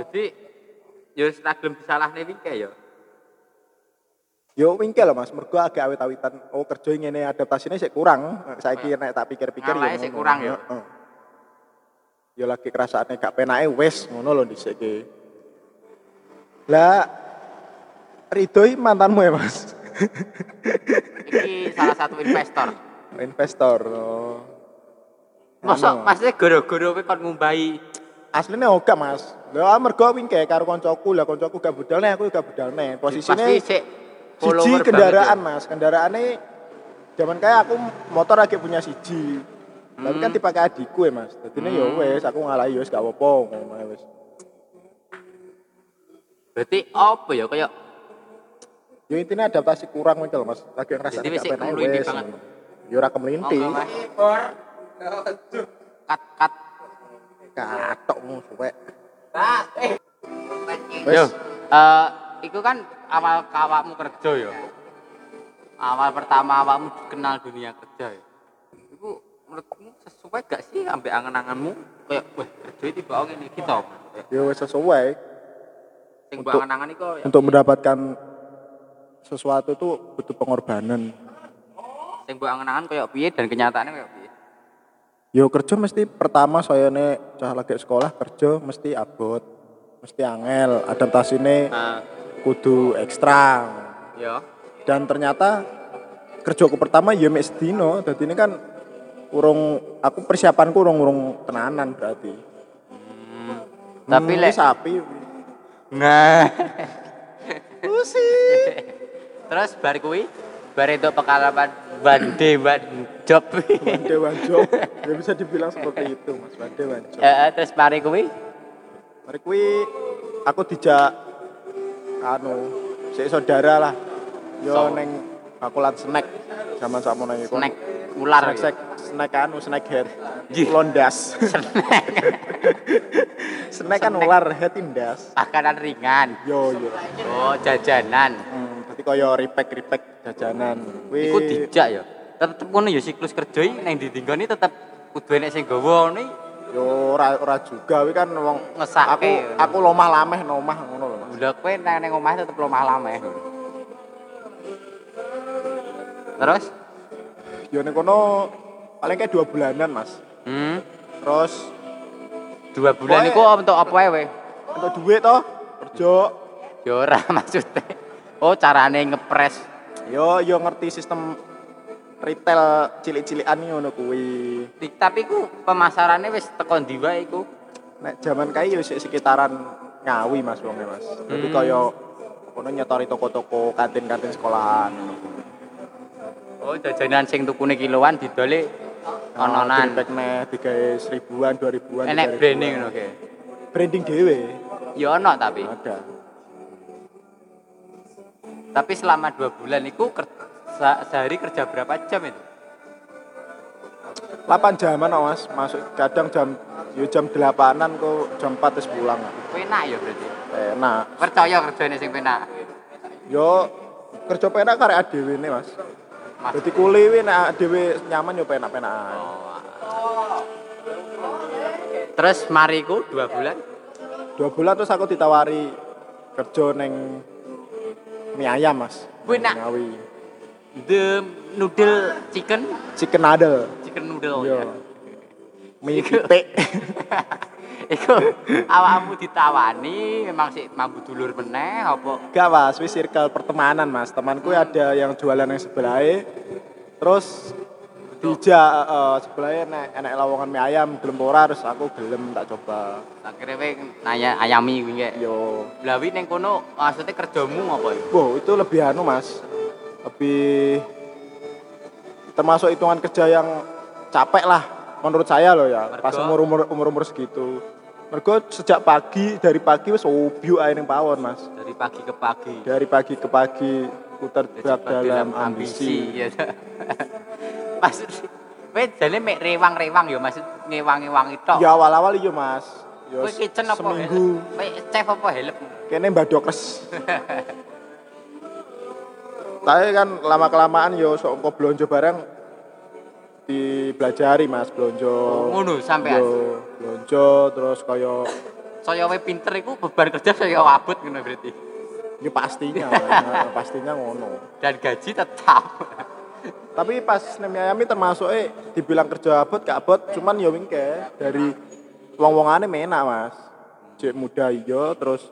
[SPEAKER 2] Jadi ya Instagram disalahne wingke ya.
[SPEAKER 1] Yo wingkel mas, mergo agak awet-awetan. Oh kerja ngene adaptasinya sih kurang. Saya kira nek tak pikir-pikir yo
[SPEAKER 2] Ngalahe sik
[SPEAKER 1] ngono.
[SPEAKER 2] kurang, yo.
[SPEAKER 1] Heeh. Yo lagi kerasaannya gak penake wes ngono lho dhisik ki. Lah Ridhoi mantanmu ya mas?
[SPEAKER 2] Iki salah satu investor.
[SPEAKER 1] investor oh.
[SPEAKER 2] Masa
[SPEAKER 1] Anu.
[SPEAKER 2] maksudnya gara-gara kowe kon ngumbahi
[SPEAKER 1] aslinya oga mas lho mergo wingke karo koncoku lah koncoku gak budalne aku gak budalne
[SPEAKER 2] pasti
[SPEAKER 1] posisine
[SPEAKER 2] sik
[SPEAKER 1] siji
[SPEAKER 2] follower
[SPEAKER 1] kendaraan
[SPEAKER 2] banget ya.
[SPEAKER 1] mas kendaraannya zaman kaya aku motor lagi punya siji tapi
[SPEAKER 2] Hmm.
[SPEAKER 1] kan dipakai adikku ya mas jadi ya wes aku ngalahi wes gak apa-apa ngono ae wes
[SPEAKER 2] ya. Berarti apa ya kaya
[SPEAKER 1] yo Ya intinya adaptasi kurang gitu loh mas lagi ngerasa
[SPEAKER 2] Jadi wis
[SPEAKER 1] gak
[SPEAKER 2] sik
[SPEAKER 1] penake
[SPEAKER 2] ngeluinti
[SPEAKER 1] wes
[SPEAKER 2] banget. Oh,
[SPEAKER 1] yo ora kemelinti
[SPEAKER 2] Monggo, Mas.
[SPEAKER 1] Oh,
[SPEAKER 2] kat kat
[SPEAKER 1] katok mu suwek
[SPEAKER 2] Yo.
[SPEAKER 1] wes
[SPEAKER 2] Eh iku kan awal awakmu kerja ya. Awal pertama awakmu kenal dunia kerja ya. Iku menurutmu sesuai gak sih ambek angen-anganmu kayak wah kerja iki kok ngene iki to.
[SPEAKER 1] yo Ya wes sesuai
[SPEAKER 2] Sing
[SPEAKER 1] Untuk-
[SPEAKER 2] mbok angen-angan iku ya,
[SPEAKER 1] untuk mendapatkan sesuatu itu butuh pengorbanan.
[SPEAKER 2] sing mbok angen-angan kayak piye dan kenyataannya kayak piye.
[SPEAKER 1] Yo Ya kerja mesti pertama saya nih cah lagi sekolah kerja mesti abot, mesti angel, adaptasine
[SPEAKER 2] Nah,
[SPEAKER 1] kudu ekstra.
[SPEAKER 2] ya.
[SPEAKER 1] Dan ternyata kerjaku pertama ya mek sedino, dadi ini kan urung aku persiapanku urung urung tenanan berarti.
[SPEAKER 2] Tapi
[SPEAKER 1] Hmm, ini
[SPEAKER 2] lek-
[SPEAKER 1] sapi.
[SPEAKER 2] Nah.
[SPEAKER 1] Pusing.
[SPEAKER 2] Terus bar kuwi bar itu pengalaman bande ban job.
[SPEAKER 1] Dewan Job, ya bisa dibilang seperti itu Mas, Dewan Job.
[SPEAKER 2] Eh, terus mari kuwi
[SPEAKER 1] Mari kuwi aku dijak anu sik saudara lah. Yo
[SPEAKER 2] Sapa?
[SPEAKER 1] neng bakulan snack zaman sakmono iku.
[SPEAKER 2] snack ular.
[SPEAKER 1] Snack, snack,
[SPEAKER 2] ya.
[SPEAKER 1] snack anu snack head.
[SPEAKER 2] Jih.
[SPEAKER 1] Londas. snack kan
[SPEAKER 2] Snack.
[SPEAKER 1] ular head indas.
[SPEAKER 2] Makanan ringan.
[SPEAKER 1] Yo yo.
[SPEAKER 2] Oh, jajanan.
[SPEAKER 1] Hmm, berarti kaya ripek-ripek jajanan. Kuwi
[SPEAKER 2] Iku dijak ya. Tetep ngono ya siklus kerja iki ning ditinggoni tetep kudu enek sing gawa ngono iki.
[SPEAKER 1] yo ora ora juga kuwi kan wong
[SPEAKER 2] Ngesake.
[SPEAKER 1] aku aku lomah lameh nomah ngono lho Mas.
[SPEAKER 2] goblok kowe nang nang omah tetep lemah lama ya. Terus?
[SPEAKER 1] Ya ning kono paling kayak dua bulanan mas.
[SPEAKER 2] Hmm.
[SPEAKER 1] Terus
[SPEAKER 2] Dua bulan
[SPEAKER 1] Pokoknya-
[SPEAKER 2] iku untuk apa ya, weh?
[SPEAKER 1] untuk duit toh kerja.
[SPEAKER 2] Ya ora maksudnya. Oh, carane ngepres.
[SPEAKER 1] Yo yo ngerti sistem retail cilik-cilikan iki ngono kuwi.
[SPEAKER 2] Di- Tapi ku pemasarannya wis teko ndi wae iku.
[SPEAKER 1] Nek jaman kae yo sik- sekitaran Ngawi Mas wonge Mas. Jadi kaya kono nyetori toko-toko, kantin-kantin sekolahan.
[SPEAKER 2] Oh, jajanan sing tukune kiloan didole ononan.
[SPEAKER 1] Greenback neh digawe seribuan, dua ribuan.
[SPEAKER 2] Enek
[SPEAKER 1] tiga ribuan.
[SPEAKER 2] branding ngono ki.
[SPEAKER 1] Branding dhewe.
[SPEAKER 2] Ya ono tapi.
[SPEAKER 1] Ada.
[SPEAKER 2] Tapi selama dua bulan itu ker- se- sehari kerja berapa jam itu?
[SPEAKER 1] 8 jaman kok Mas. Masuk kadang jam yo jam 8-an kok jam 4 wis pulang.
[SPEAKER 2] Penak ya berarti.
[SPEAKER 1] Enak.
[SPEAKER 2] Percaya kerjane sing penak.
[SPEAKER 1] Yo kerja penak karek adewe ne Mas.
[SPEAKER 2] Mas.
[SPEAKER 1] Dadi kuli kuwi nek adewe nyaman yo penak-penakan.
[SPEAKER 2] Terus mariku dua bulan.
[SPEAKER 1] Dua bulan terus aku ditawari kerja neng mie ayam mas.
[SPEAKER 2] Wih, nak.
[SPEAKER 1] Ngawi.
[SPEAKER 2] The noodle chicken,
[SPEAKER 1] Chicken noodle.
[SPEAKER 2] chicken noodle
[SPEAKER 1] Yo.
[SPEAKER 2] ya.
[SPEAKER 1] Mie pitik.
[SPEAKER 2] Iku awakmu ditawani memang sik mambu dulur meneh apa
[SPEAKER 1] Gak mas, wis circle pertemanan mas. Temanku ada yang jualan yang sebelahnya. Terus dijak eh, sebelahnya enak, enak lowongan mie ayam gelem ora terus aku gelem tak coba.
[SPEAKER 2] akhirnya we nanya ayami kuwi ya.
[SPEAKER 1] Yo.
[SPEAKER 2] Blawi ning kono maksudnya kerjamu apa ya?
[SPEAKER 1] Wow, itu lebih anu mas, lebih termasuk hitungan kerja yang capek lah menurut saya loh ya. Pas
[SPEAKER 2] Mergo?
[SPEAKER 1] umur umur umur umur segitu. Mergo sejak pagi dari pagi wis obyuk ae ning pawon mas.
[SPEAKER 2] Dari pagi ke pagi.
[SPEAKER 1] Dari pagi ke pagi ku terjebak
[SPEAKER 2] Terjebak
[SPEAKER 1] dalam ambisi.
[SPEAKER 2] ya. maksud kowe jane mek rewang-rewang ya maksud ngewangi-wangi tok.
[SPEAKER 1] Ya awal-awal iya mas. Ya
[SPEAKER 2] Kowe kitchen apa?
[SPEAKER 1] seminggu
[SPEAKER 2] help? Kowe chef apa help?
[SPEAKER 1] kene mbak dokres. Tapi kan lama kelamaan yo sok engko blonjo bareng dipelajari mas blonjo.
[SPEAKER 2] Ngono sampean.
[SPEAKER 1] Yo, lonco terus kaya
[SPEAKER 2] Saya wae pinter iku beban kerja saya wabut ngono berarti.
[SPEAKER 1] ya pastinya, ya, pastinya ngono.
[SPEAKER 2] Dan gaji tetap.
[SPEAKER 1] Tapi pas nemi ayami termasuk eh dibilang kerja abot gak abot, cuman ya wingke dari wong-wongane menak, Mas. Cek muda iya terus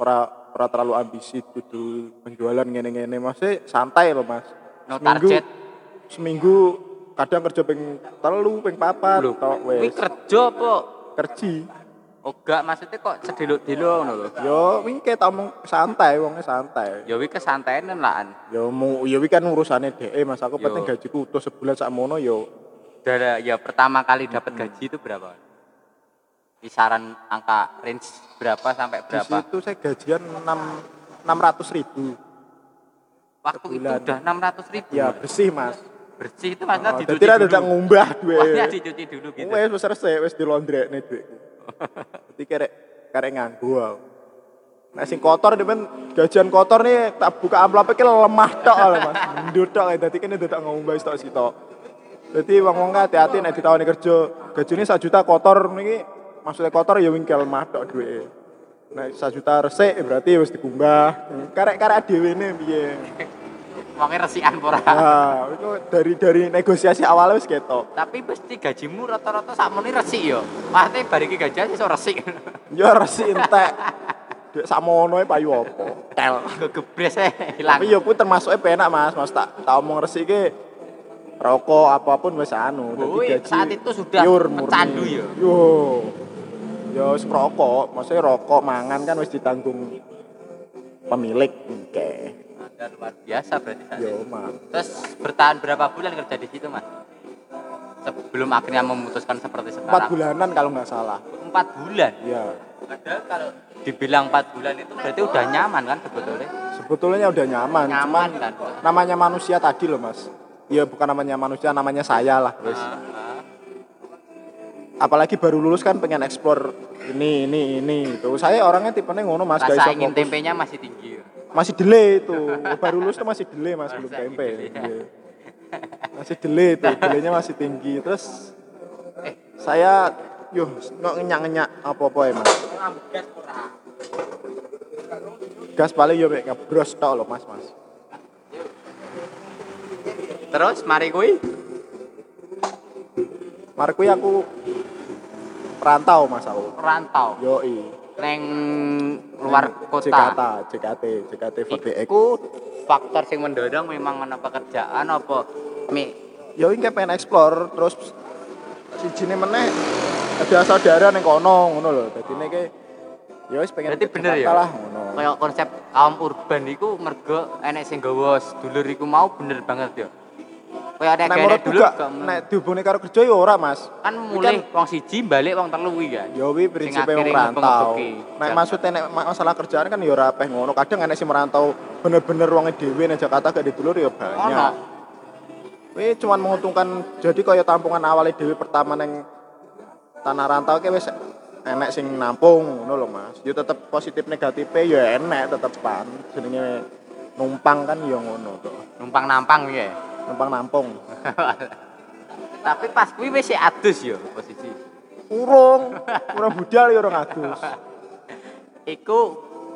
[SPEAKER 1] ora ora terlalu ambisi kudu penjualan ngene-ngene Mas. Eh, santai loh, Mas.
[SPEAKER 2] No
[SPEAKER 1] Seminggu-
[SPEAKER 2] target.
[SPEAKER 1] Seminggu kadang kerja ping telu, ping papat,
[SPEAKER 2] Lho,
[SPEAKER 1] tok wis.
[SPEAKER 2] kuwi kerja apa?
[SPEAKER 1] Kerji.
[SPEAKER 2] Oh enggak, maksudnya kok sedelok-delok ngono lho.
[SPEAKER 1] Yo wingke tak omong santai, wongnya santai.
[SPEAKER 2] Ya wis kesantainan lah. an.
[SPEAKER 1] Ya mau ya wi kan urusannya deh, mas aku
[SPEAKER 2] Yo.
[SPEAKER 1] penting gajiku utuh sebulan sakmono yo
[SPEAKER 2] Dari ya pertama kali
[SPEAKER 1] Hmm.
[SPEAKER 2] dapat gaji itu berapa? Kisaran angka range berapa sampai
[SPEAKER 1] di
[SPEAKER 2] berapa?
[SPEAKER 1] situ saya gajian 6 600 ribu
[SPEAKER 2] Waktu itu
[SPEAKER 1] sebulan.
[SPEAKER 2] udah 600 ribu.
[SPEAKER 1] ya bersih mas
[SPEAKER 2] Bersih itu maksudnya
[SPEAKER 1] Oh,
[SPEAKER 2] dicuci
[SPEAKER 1] jadi ada tidak
[SPEAKER 2] dulu.
[SPEAKER 1] ngumbah
[SPEAKER 2] Maksudnya
[SPEAKER 1] duit
[SPEAKER 2] dicuci dulu gitu.
[SPEAKER 1] wes wes selesai wes di laundry nih duitku jadi karek karek nganggu aku nah sing kotor demen gajian kotor nih tak buka amplopnya ki lemah tok lah mas mundur tok ya jadi kan tidak ngumbah stok sitok jadi wong wong hati-hati nek ditawani kerja gajine sak juta kotor niki maksudnya kotor ya wingkel lemah tok duwe nek sak juta resik ya berarti wis dikumbah karek-karek dhewe ne piye
[SPEAKER 2] Wonge resikan ora.
[SPEAKER 1] nah itu dari dari negosiasi awalnya wis ketok
[SPEAKER 2] Tapi pasti gajimu rata-rata sakmono resik ya. Maksudnya bariki gajian iso resik.
[SPEAKER 1] yo resik entek Dek sakmono e payu apa tel
[SPEAKER 2] Gegebres ae
[SPEAKER 1] eh.
[SPEAKER 2] ilang.
[SPEAKER 1] tapi yo ku termasuknya penak mas mas tak tak omong resik ki rokok apapun wis anu Dadi
[SPEAKER 2] Woi,
[SPEAKER 1] gaji
[SPEAKER 2] saat itu sudah
[SPEAKER 1] pure, murni.
[SPEAKER 2] pecandu ya.
[SPEAKER 1] yo yo wis rokok maksudnya rokok mangan kan wis ditanggung pemilik oke
[SPEAKER 2] Anda luar biasa berarti. saat
[SPEAKER 1] yo
[SPEAKER 2] itu.
[SPEAKER 1] mas
[SPEAKER 2] Terus bertahan berapa bulan kerja di situ, Mas? Sebelum akhirnya memutuskan seperti
[SPEAKER 1] empat
[SPEAKER 2] sekarang.
[SPEAKER 1] bulanan kalau nggak salah
[SPEAKER 2] Empat bulan.
[SPEAKER 1] ya
[SPEAKER 2] Padahal kalau dibilang empat bulan itu berarti udah nyaman kan sebetulnya.
[SPEAKER 1] sebetulnya udah nyaman
[SPEAKER 2] Nyaman
[SPEAKER 1] cuman
[SPEAKER 2] kan.
[SPEAKER 1] namanya manusia tadi loh mas ya bukan namanya manusia namanya saya lah wis
[SPEAKER 2] Heeh.
[SPEAKER 1] apalagi baru lulus kan pengen eksplor ini ini ini itu saya orangnya tipenya ngono mas gak iso
[SPEAKER 2] Rasa ingin
[SPEAKER 1] fokus.
[SPEAKER 2] tempenya masih tinggi. ya.
[SPEAKER 1] masih delay itu baru lulus tuh masih delay mas belum
[SPEAKER 2] Rasa ingin
[SPEAKER 1] tempe
[SPEAKER 2] delay.
[SPEAKER 1] Iya. masih delay itu delaynya masih tinggi terus
[SPEAKER 2] Eh.
[SPEAKER 1] saya yuh nggak ngenyak ngenyak apa apa ya mas gas paling yo mek ngebros tok lho Mas Mas.
[SPEAKER 2] Terus mari kui
[SPEAKER 1] Mari kuwi ya aku perantau Mas aku.
[SPEAKER 2] rantau
[SPEAKER 1] Yo
[SPEAKER 2] neng luar kota.
[SPEAKER 1] Jakarta, JKT, JKT JKT48.
[SPEAKER 2] Iku faktor sing mendorong memang ana pekerjaan apa mi
[SPEAKER 1] Ya wingi pengen explore terus sijine meneh ada saudara ning kono ngono lho. Dadine ki ya wis pengen
[SPEAKER 2] Berarti
[SPEAKER 1] ke
[SPEAKER 2] bener
[SPEAKER 1] Jakarta
[SPEAKER 2] ya?
[SPEAKER 1] Lah ngono.
[SPEAKER 2] kayak konsep kaum urban iku mergo enek sing gawa sedulur iku mau bener banget ya. Kayak ada
[SPEAKER 1] Nek
[SPEAKER 2] kene
[SPEAKER 1] menurut
[SPEAKER 2] dulu
[SPEAKER 1] juga
[SPEAKER 2] gak men-
[SPEAKER 1] nek dihubungi karo kerja ya ora Mas.
[SPEAKER 2] kan mulai wong siji balik wong telu iki kan.
[SPEAKER 1] Ya wi
[SPEAKER 2] Sing
[SPEAKER 1] prinsipe
[SPEAKER 2] akhirnya
[SPEAKER 1] wong merantau.
[SPEAKER 2] ngebeng-ngebeki.
[SPEAKER 1] Nek maksudnya nek ma- masalah kerjaan kan ya ora peh ngono. Kadang ana sing merantau bener-bener wong dhewe nek Jakarta gak dulur ya
[SPEAKER 2] Ono.
[SPEAKER 1] banyak. Wi cuman menguntungkan jadi kaya tampungan awalnya dhewe pertama neng tanah rantau ki wis enek sing nampung ngono lho Mas. Ya tetep positif negatifnya ya enek tetepan. Jenenge numpang kan ya ngono to.
[SPEAKER 2] numpang nampang ya.
[SPEAKER 1] Numpang nampung.
[SPEAKER 2] Tapi pas kuwi wis sik adus ya posisi.
[SPEAKER 1] Urung, urung budal ya urung agus.
[SPEAKER 2] Iku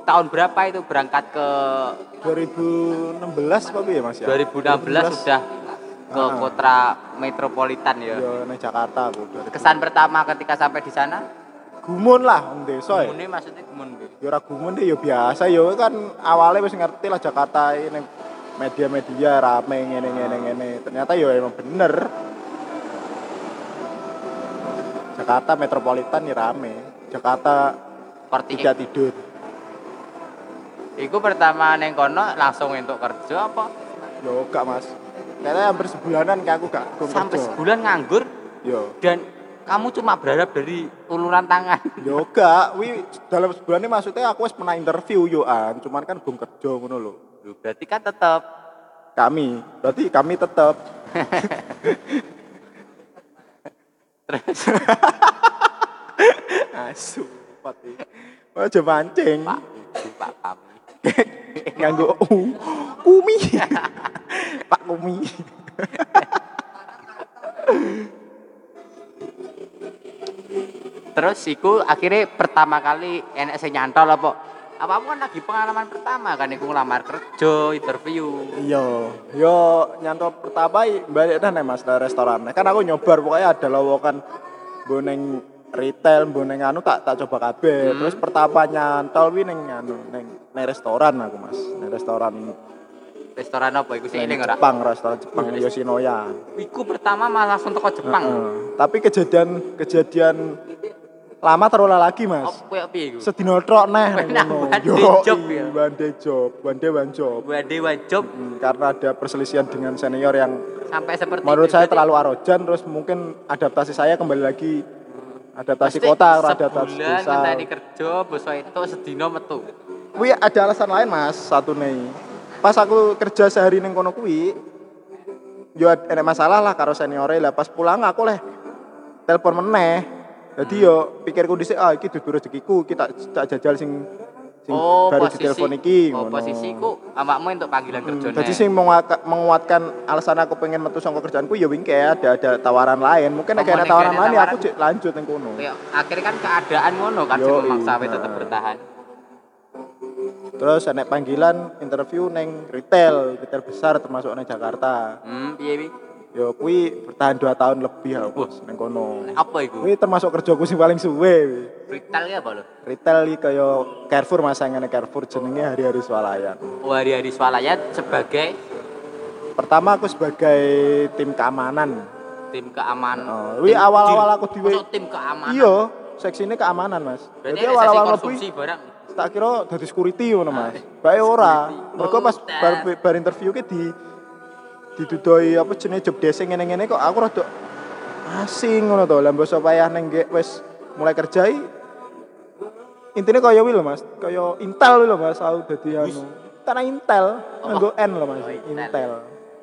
[SPEAKER 2] tahun berapa itu berangkat ke
[SPEAKER 1] 2016 apa piye Mas ya?
[SPEAKER 2] 2016 sudah ke
[SPEAKER 1] Ah.
[SPEAKER 2] kota metropolitan ya.
[SPEAKER 1] Ya nang Jakarta aku. 2000.
[SPEAKER 2] Kesan pertama ketika sampai di sana,
[SPEAKER 1] gumun lah om desa e. ya.
[SPEAKER 2] Mune maksudnya gumun piye?
[SPEAKER 1] Ya ora gumun deh ya biasa ya kan awalnya wis ngerti lah Jakarta ini media-media rame ngene ngene ngene. Ternyata ya emang bener. Jakarta metropolitan ya rame. Jakarta
[SPEAKER 2] Korti
[SPEAKER 1] tidak tidur.
[SPEAKER 2] Iku pertama neng kono langsung entuk kerja apa?
[SPEAKER 1] Ya gak Mas. Kayaknya hampir sebulanan kayak aku gak gak
[SPEAKER 2] Sampai
[SPEAKER 1] kerja.
[SPEAKER 2] sebulan nganggur
[SPEAKER 1] Yo.
[SPEAKER 2] dan kamu cuma berharap dari uluran tangan.
[SPEAKER 1] Yo gak, wi dalam sebulan ini maksudnya aku wis pernah interview yoan, cuman kan belum kerja ngono lho.
[SPEAKER 2] Loh, berarti kan tetap
[SPEAKER 1] Kami, berarti kami tetap
[SPEAKER 2] terus
[SPEAKER 1] Asu. Oh, aja mancing.
[SPEAKER 2] Pak, itu Pak kami.
[SPEAKER 1] Nganggo u. Kumi. Pak Kumi.
[SPEAKER 2] Terus iku akhirnya pertama kali enek sing nyantol apa? Apa aku kan lagi pengalaman pertama kan iku ngelamar kerja, interview.
[SPEAKER 1] Yo, Iya. yo nyantol pertama i- balik dah nih mas dari restoran. Kan aku nyobar pokoknya ada lowongan boneng retail, boneng anu tak tak coba kabeh. Terus pertama nyantol wi neng anu neng neng restoran aku mas, neng restoran
[SPEAKER 2] Restoran apa iku sing
[SPEAKER 1] neng
[SPEAKER 2] eling ora?
[SPEAKER 1] Jepang, restoran Jepang
[SPEAKER 2] Iya,
[SPEAKER 1] Yoshinoya.
[SPEAKER 2] Iku pertama malah langsung teko Jepang.
[SPEAKER 1] Heeh. Tapi kejadian kejadian lama terulang lagi mas.
[SPEAKER 2] Apa koyo piye iku?
[SPEAKER 1] sedino tok neh
[SPEAKER 2] Enak,
[SPEAKER 1] ngono. iya,
[SPEAKER 2] one day
[SPEAKER 1] Yoi,
[SPEAKER 2] job ya.
[SPEAKER 1] one day job, one day one job.
[SPEAKER 2] Wade wajib
[SPEAKER 1] Hmm, karena ada perselisihan dengan senior yang
[SPEAKER 2] sampai seperti
[SPEAKER 1] menurut
[SPEAKER 2] itu.
[SPEAKER 1] saya
[SPEAKER 2] Berarti
[SPEAKER 1] terlalu arogan terus mungkin adaptasi saya kembali lagi adaptasi
[SPEAKER 2] Pasti
[SPEAKER 1] kota atau adaptasi
[SPEAKER 2] sebulan kan
[SPEAKER 1] desa.
[SPEAKER 2] ngenteni kerja bosok itu sedino metu
[SPEAKER 1] Kuwi ada alasan lain Mas, satu nih. Pas aku kerja sehari ning kono kuwi yo ad- enek masalah lah karo seniore lah pas pulang aku leh telepon meneh. Jadi
[SPEAKER 2] Hmm.
[SPEAKER 1] yo pikirku dhisik ah iki dudu rezekiku, iki tak tak jajal sing sing baru ditelepon iki
[SPEAKER 2] oh
[SPEAKER 1] ngono.
[SPEAKER 2] posisi ku awakmu untuk panggilan kerja
[SPEAKER 1] Jadi Hmm, sing menguaka- menguatkan alasan aku pengen metu saka kerjaanku ya wingke ada ada tawaran lain. Mungkin
[SPEAKER 2] Apa
[SPEAKER 1] nek ada
[SPEAKER 2] nek
[SPEAKER 1] tawaran
[SPEAKER 2] ada
[SPEAKER 1] lain ya aku
[SPEAKER 2] tawaran?
[SPEAKER 1] jek lanjut ning kono.
[SPEAKER 2] Kayak akhirnya kan keadaan ngono kan sing
[SPEAKER 1] Yoi,
[SPEAKER 2] memaksa we
[SPEAKER 1] nah.
[SPEAKER 2] tetep bertahan
[SPEAKER 1] Terus enek panggilan interview neng retail, retail besar termasuk neng Jakarta.
[SPEAKER 2] hmm piye wi
[SPEAKER 1] Ya kuwi bertahan 2 tahun lebih aku
[SPEAKER 2] Wah.
[SPEAKER 1] Mas ning kono.
[SPEAKER 2] apa iku
[SPEAKER 1] Kuwi termasuk kerjaku sing paling suwe. kuwi.
[SPEAKER 2] vital ya apa lho
[SPEAKER 1] Retail iki kaya Carrefour masangane Carrefour jenenge hari-hari swalayan.
[SPEAKER 2] hari-hari swalayan sebagai
[SPEAKER 1] Pertama aku sebagai tim keamanan.
[SPEAKER 2] tim keamanan
[SPEAKER 1] Oh,
[SPEAKER 2] Tim
[SPEAKER 1] wi awal-awal
[SPEAKER 2] dir-
[SPEAKER 1] aku diwe-
[SPEAKER 2] Masuk tim keamanan
[SPEAKER 1] Iya, seksinya keamanan, Mas.
[SPEAKER 2] berarti
[SPEAKER 1] Jadi
[SPEAKER 2] ada sesi
[SPEAKER 1] awal-awal lebih
[SPEAKER 2] konsumsi barang
[SPEAKER 1] tak kira dadi security ngono Mas. Bae ora.
[SPEAKER 2] security.
[SPEAKER 1] Mergo pas
[SPEAKER 2] Oh,
[SPEAKER 1] bar, bar interview ki di didudoi apa jenenge job desk ngene-ngene kok aku rada asing ngono to. Lah basa payah ning nggih wis mulai kerjai intinya kaya wi lho Mas, kaya Intel wi lho Mas, aku dadi anu. Karena Intel, nganggo N lho Mas,
[SPEAKER 2] Oh, Intel.
[SPEAKER 1] Intel.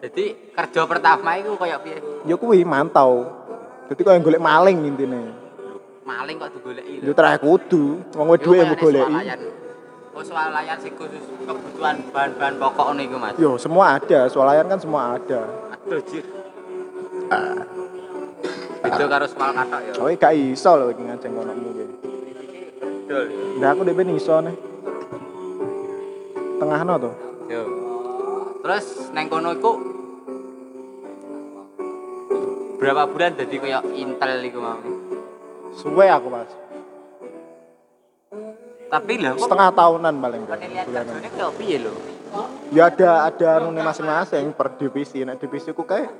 [SPEAKER 2] jadi kerja pertama iku kayak piye
[SPEAKER 1] Ya kuwi mantau. Dadi kaya golek maling intine.
[SPEAKER 2] maling kok digoleki lho
[SPEAKER 1] Yo terakhir kudu, wong
[SPEAKER 2] Iku
[SPEAKER 1] wedoke
[SPEAKER 2] kayaknya
[SPEAKER 1] mbok goleki.
[SPEAKER 2] swalayan. Oh swalayan sing khusus kebutuhan bahan-bahan pokok ngono iku Mas.
[SPEAKER 1] Yo, semua ada, swalayan kan semua ada.
[SPEAKER 2] Aduh jir.
[SPEAKER 1] Ah.
[SPEAKER 2] Itu karo swal katok ya.
[SPEAKER 1] Kowe gak iso lho iki ngajeng kono iki.
[SPEAKER 2] Dol.
[SPEAKER 1] Nah, aku dhewe ning iso nih. tengah no tuh.
[SPEAKER 2] Yo. Terus neng kono iku berapa bulan jadi kaya intel iku mau.
[SPEAKER 1] Suwe aku mas.
[SPEAKER 2] Tapi lho kok
[SPEAKER 1] Setengah tahunan paling nggak.
[SPEAKER 2] penilaian
[SPEAKER 1] bulanan.
[SPEAKER 2] kerjane kaya piye lho?
[SPEAKER 1] Ya ada ada nune masing-masing per divisi. Nek divisi ku kayak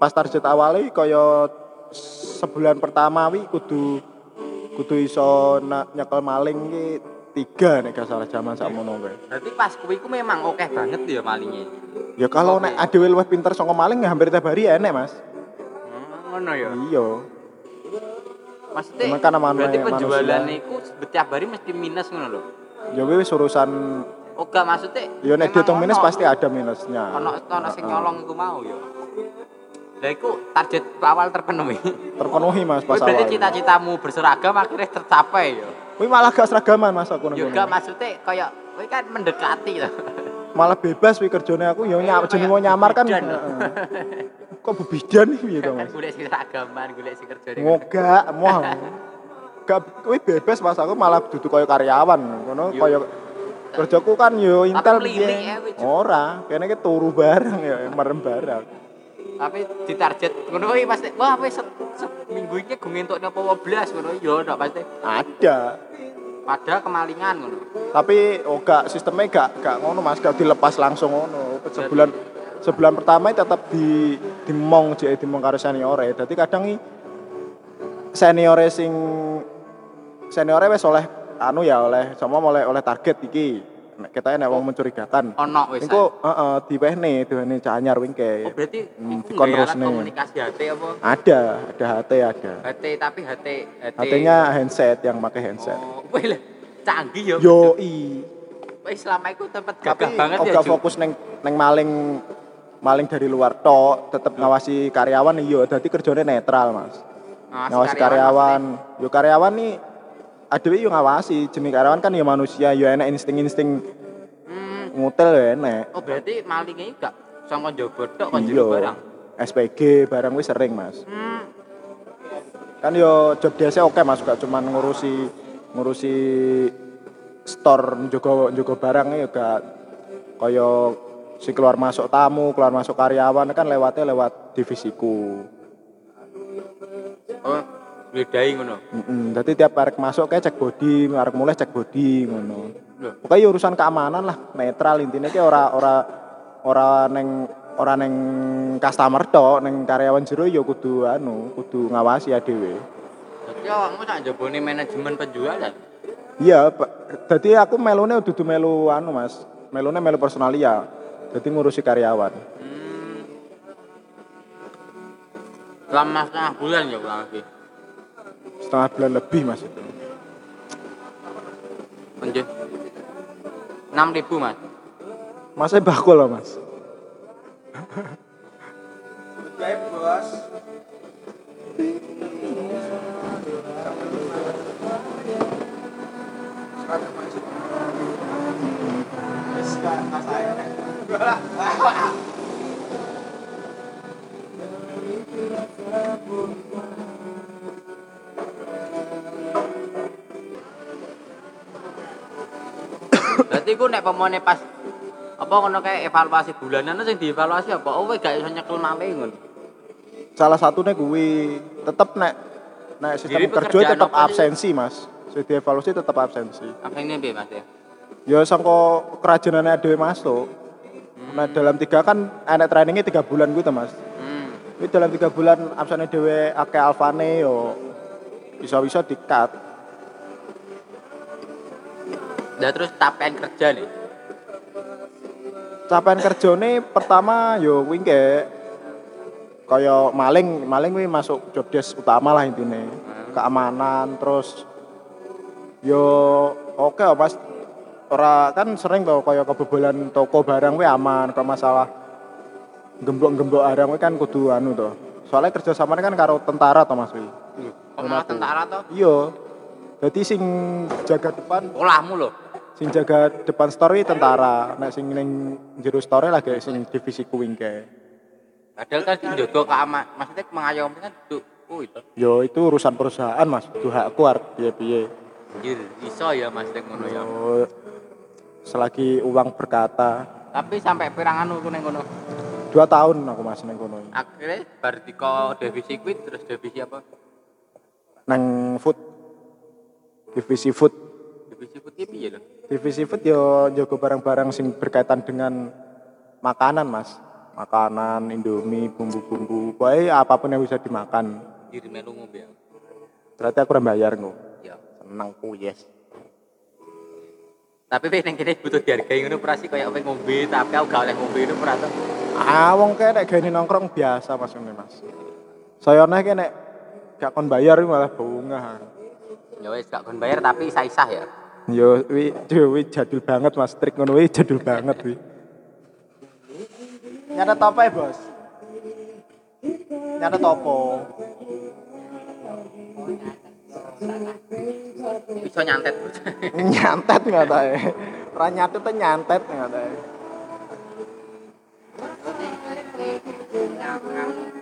[SPEAKER 1] pas target awalnya kaya sebulan pertama wi kudu kudu iso na, nyekel maling ki tiga nek gak salah zaman sakmono kae.
[SPEAKER 2] Berarti pas kuwi ku memang oke banget ya malingnya.
[SPEAKER 1] Ya kalau nek adewe luwih pinter saka maling ya hampir tiap hari enek Mas.
[SPEAKER 2] Hmm, ngono ya.
[SPEAKER 1] Iya.
[SPEAKER 2] Maksudnya
[SPEAKER 1] Emang kan namanya
[SPEAKER 2] berarti
[SPEAKER 1] manusia.
[SPEAKER 2] penjualan iku setiap hari mesti minus ngono lho.
[SPEAKER 1] Ya wis urusan
[SPEAKER 2] Oga maksudnya
[SPEAKER 1] ya nek
[SPEAKER 2] memang
[SPEAKER 1] dihitung minus
[SPEAKER 2] ono-
[SPEAKER 1] pasti ada minusnya.
[SPEAKER 2] ono ono sing
[SPEAKER 1] Heeh.
[SPEAKER 2] nyolong iku mau ya. Lah iku target awal terpenuhi.
[SPEAKER 1] terpenuhi Mas
[SPEAKER 2] Kuwi
[SPEAKER 1] pas
[SPEAKER 2] berarti
[SPEAKER 1] awal.
[SPEAKER 2] cita-citamu berseragam akhirnya tercapai ya.
[SPEAKER 1] Kuwi malah gak seragaman Mas aku nang
[SPEAKER 2] Juga
[SPEAKER 1] kono.
[SPEAKER 2] maksudnya kaya kowe kan mendekati loh.
[SPEAKER 1] Oh. Malah bebas wi kerjane aku ya nyam
[SPEAKER 2] Kayak
[SPEAKER 1] jeneng mau nyamar kan.
[SPEAKER 2] bebidan.
[SPEAKER 1] Heeh. Kok bebidan iki piye to
[SPEAKER 2] kan
[SPEAKER 1] Mas?
[SPEAKER 2] golek sing seragaman, golek sing kerja ning.
[SPEAKER 1] Moga moh. Gak kuwi bebas Mas aku malah duduk kaya karyawan ngono
[SPEAKER 2] Yo.
[SPEAKER 1] kaya kerjaku kan yo intel
[SPEAKER 2] melirik ya,
[SPEAKER 1] piye.
[SPEAKER 2] wih, Cuk.
[SPEAKER 1] Ora, kene ki turu bareng ya merem bareng.
[SPEAKER 2] Tapi di target ngono kuwi pasti wah wis se- seminggu iki gue ngentokne apa 12 ngono ya ndak pasti.
[SPEAKER 1] Ada.
[SPEAKER 2] Padahal kemalingan ngono.
[SPEAKER 1] tapi oh gak sistemnya gak gak ngono mas gak dilepas langsung ngono sebulan sebulan pertama tetap di dimong jadi dimong karo seniore jadi kadang i seniore sing seniore wes oleh anu ya oleh sama oleh oleh target iki Nek kita nek wong mencurigakan
[SPEAKER 2] Ono wis.
[SPEAKER 1] engko heeh diwehne diwehne canyar
[SPEAKER 2] Oh
[SPEAKER 1] wingke
[SPEAKER 2] berarti
[SPEAKER 1] Hmm,
[SPEAKER 2] iku
[SPEAKER 1] dikon
[SPEAKER 2] nggawe alat
[SPEAKER 1] terusne.
[SPEAKER 2] komunikasi HT apa?
[SPEAKER 1] ada ada HT ada
[SPEAKER 2] HT tapi HT HT. Iya.
[SPEAKER 1] HT-nya handset yang pakai handset
[SPEAKER 2] Oh, wih lah, canggih ya.
[SPEAKER 1] yo i
[SPEAKER 2] Wis selama iku tempat
[SPEAKER 1] tapi
[SPEAKER 2] gagah banget ya.
[SPEAKER 1] gak
[SPEAKER 2] Ju.
[SPEAKER 1] fokus neng neng maling maling dari luar tok tetep ngawasi karyawan iya dadi kerjane netral mas
[SPEAKER 2] Ngawasi
[SPEAKER 1] ngawasi
[SPEAKER 2] karyawan,
[SPEAKER 1] karyawan, yo karyawan nih aduh yo ngawasi jenis karyawan kan yo manusia yo enak insting insting
[SPEAKER 2] Hmm.
[SPEAKER 1] ngutel yo enak
[SPEAKER 2] Oh berarti malingnya iki gak sangka njaba tok kon
[SPEAKER 1] Iya.
[SPEAKER 2] jero barang.
[SPEAKER 1] SPG barang wis sering mas
[SPEAKER 2] Hmm.
[SPEAKER 1] kan yo job desa oke mas gak cuman ngurusi ngurusi store njogo njogo barang ya gak kaya si keluar masuk tamu keluar masuk karyawan kan lewatnya lewat divisiku
[SPEAKER 2] Oh, bedai ngono.
[SPEAKER 1] Mm-mm. Jadi tiap arek masuk kayak cek body, arek mulai cek body ngono.
[SPEAKER 2] Loh.
[SPEAKER 1] Pokoknya ya urusan keamanan lah, netral intinya kayak ora ora ora neng ora neng customer tok, neng karyawan jero ya kudu anu, kudu ngawasi ya dhewe.
[SPEAKER 2] Dadi awakmu sak njabone manajemen penjualan.
[SPEAKER 1] Iya, Pak. Jadi aku melone dudu melu anu, Mas. Melone melu personalia. Jadi ngurusi karyawan.
[SPEAKER 2] Hmm. Selama setengah bulan ya kurang lebih.
[SPEAKER 1] Setengah bulan lebih, Mas itu.
[SPEAKER 2] Lanjut. 6000 mas.
[SPEAKER 1] Masnya bakul loh, Mas.
[SPEAKER 2] Berarti ku nek pemone pas apa ngono kayak evaluasi bulanan itu sing dievaluasi apa? Oh, weh gak iso nyekel maling ngono.
[SPEAKER 1] Salah satunya kuwi tetep nek nek sistem
[SPEAKER 2] Jadi
[SPEAKER 1] kerja
[SPEAKER 2] pekerjaan
[SPEAKER 1] tetep
[SPEAKER 2] apa sih?
[SPEAKER 1] absensi, Mas. Jadi evaluasi tetep absensi.
[SPEAKER 2] Apa ini piye Mas? ya?
[SPEAKER 1] Ya sangko kerajinannya dhewe masuk. Nah dalam tiga kan enak trainingnya tiga bulan gitu mas.
[SPEAKER 2] Hmm.
[SPEAKER 1] Ini dalam tiga bulan absennya dhewe ake alfane yo bisa-bisa dikat.
[SPEAKER 2] Nah, terus tapen kerja nih.
[SPEAKER 1] Capaian kerjane pertama yo kuwi engke kaya maling maling kuwi masuk job desk utama lah intine. Keamanan terus yo oke okay, mas ora kan sering tau kaya kebobolan toko barang kuwi aman kok masalah gembok-gembok barang kuwi kan kudu anu to. Soalnya kerjasamanya kan karo tentara to Mas kuwi.
[SPEAKER 2] Kok malah tentara toh?
[SPEAKER 1] Iya. Jadi sing jaga depan
[SPEAKER 2] Olahmu loh.
[SPEAKER 1] sing jaga depan store iki tentara nek sing ning jero store lagi sing divisi kuing kae
[SPEAKER 2] Padahal kan sing jaga keamanan, maksudnya mengayomi kan duduk. Oh, itu.
[SPEAKER 1] yo itu urusan perusahaan mas itu hakku arep piye piye
[SPEAKER 2] Anjir, iso ya Mas nek ngono ya.
[SPEAKER 1] yo selagi uang berkata
[SPEAKER 2] Tapi sampai pirangan aku neng kono.
[SPEAKER 1] dua tahun aku mas neng kono
[SPEAKER 2] Akhirnya bar diko divisi kuwi terus divisi apa?
[SPEAKER 1] neng food divisi food
[SPEAKER 2] Divisi putih piye lho?
[SPEAKER 1] divisi food yo jago barang-barang sing berkaitan dengan makanan mas makanan indomie bumbu-bumbu pokoknya apapun yang bisa dimakan
[SPEAKER 2] Diri melu ngombe.
[SPEAKER 1] berarti aku orang bayar ngu
[SPEAKER 2] Ya.
[SPEAKER 1] seneng ku yes
[SPEAKER 2] Tapi pe neng kene butuh dihargai ngono prasi koyo kowe ngombe tapi aku gak oleh ngombe ngono ora tuh.
[SPEAKER 1] ah wong kayak nek gini nongkrong biasa mas ini mas saya nek kayak nek gak kon bayar ini malah bunga
[SPEAKER 2] Ya wis gak kon bayar tapi sah-sah ya.
[SPEAKER 1] Yo, wi, duh, wi jadul banget mas, trik ngono wi jadul banget wi. Nyata topo ya bos? Nyata topo.
[SPEAKER 2] Bisa nyantet.
[SPEAKER 1] nyantet nggak tahu ya. Orang nyantet tuh nyantet nggak tahu ya.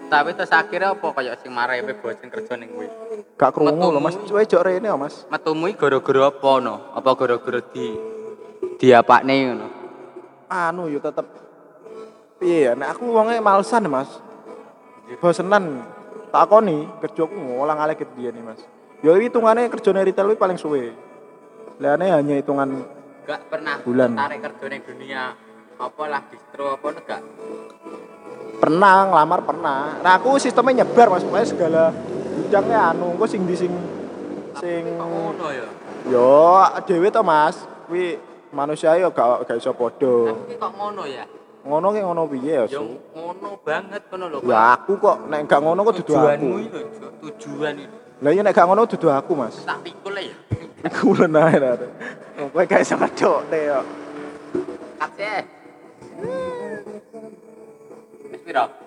[SPEAKER 2] tapi terus akhirnya apa koyo sing marahe pe bosen kerja ning kuwi.
[SPEAKER 1] Gak kerungu
[SPEAKER 2] Metu.
[SPEAKER 1] loh mas, cuy jok rene ya mas.
[SPEAKER 2] Metumu iki gara-gara apa no? Apa gara-gara di diapakne ngono?
[SPEAKER 1] Anu yo tetep. Iya, nah aku uangnya malesan ya, mas. Bosenan. Tak koni kerjaku ngolang alik gitu dia nih mas. Yo hitungannya kerjanya retail wi paling suwe. Lihatnya hanya hitungan
[SPEAKER 2] gak pernah
[SPEAKER 1] Bulan.
[SPEAKER 2] tertarik kerja di dunia apalah distro apa enggak gak
[SPEAKER 1] pernah ngelamar pernah nah aku sistemnya nyebar mas pokoknya segala bidangnya anu aku sing di sing sing
[SPEAKER 2] ngono ya
[SPEAKER 1] yo dewe to mas kuwi manusia yo gak gak iso padha
[SPEAKER 2] tapi kok ngono ya
[SPEAKER 1] ngono ki ngono piye ya
[SPEAKER 2] yo
[SPEAKER 1] Su?
[SPEAKER 2] ngono banget ngono lho
[SPEAKER 1] ya
[SPEAKER 2] Pak.
[SPEAKER 1] aku kok nek gak ngono kok dudu aku
[SPEAKER 2] tujuanmu itu Jo. tujuan itu
[SPEAKER 1] lah iya nek gak ngono dudu aku mas
[SPEAKER 2] tak pikul ya
[SPEAKER 1] aku lenah ya kowe gak iso ngedok te yo
[SPEAKER 2] kasih wis piro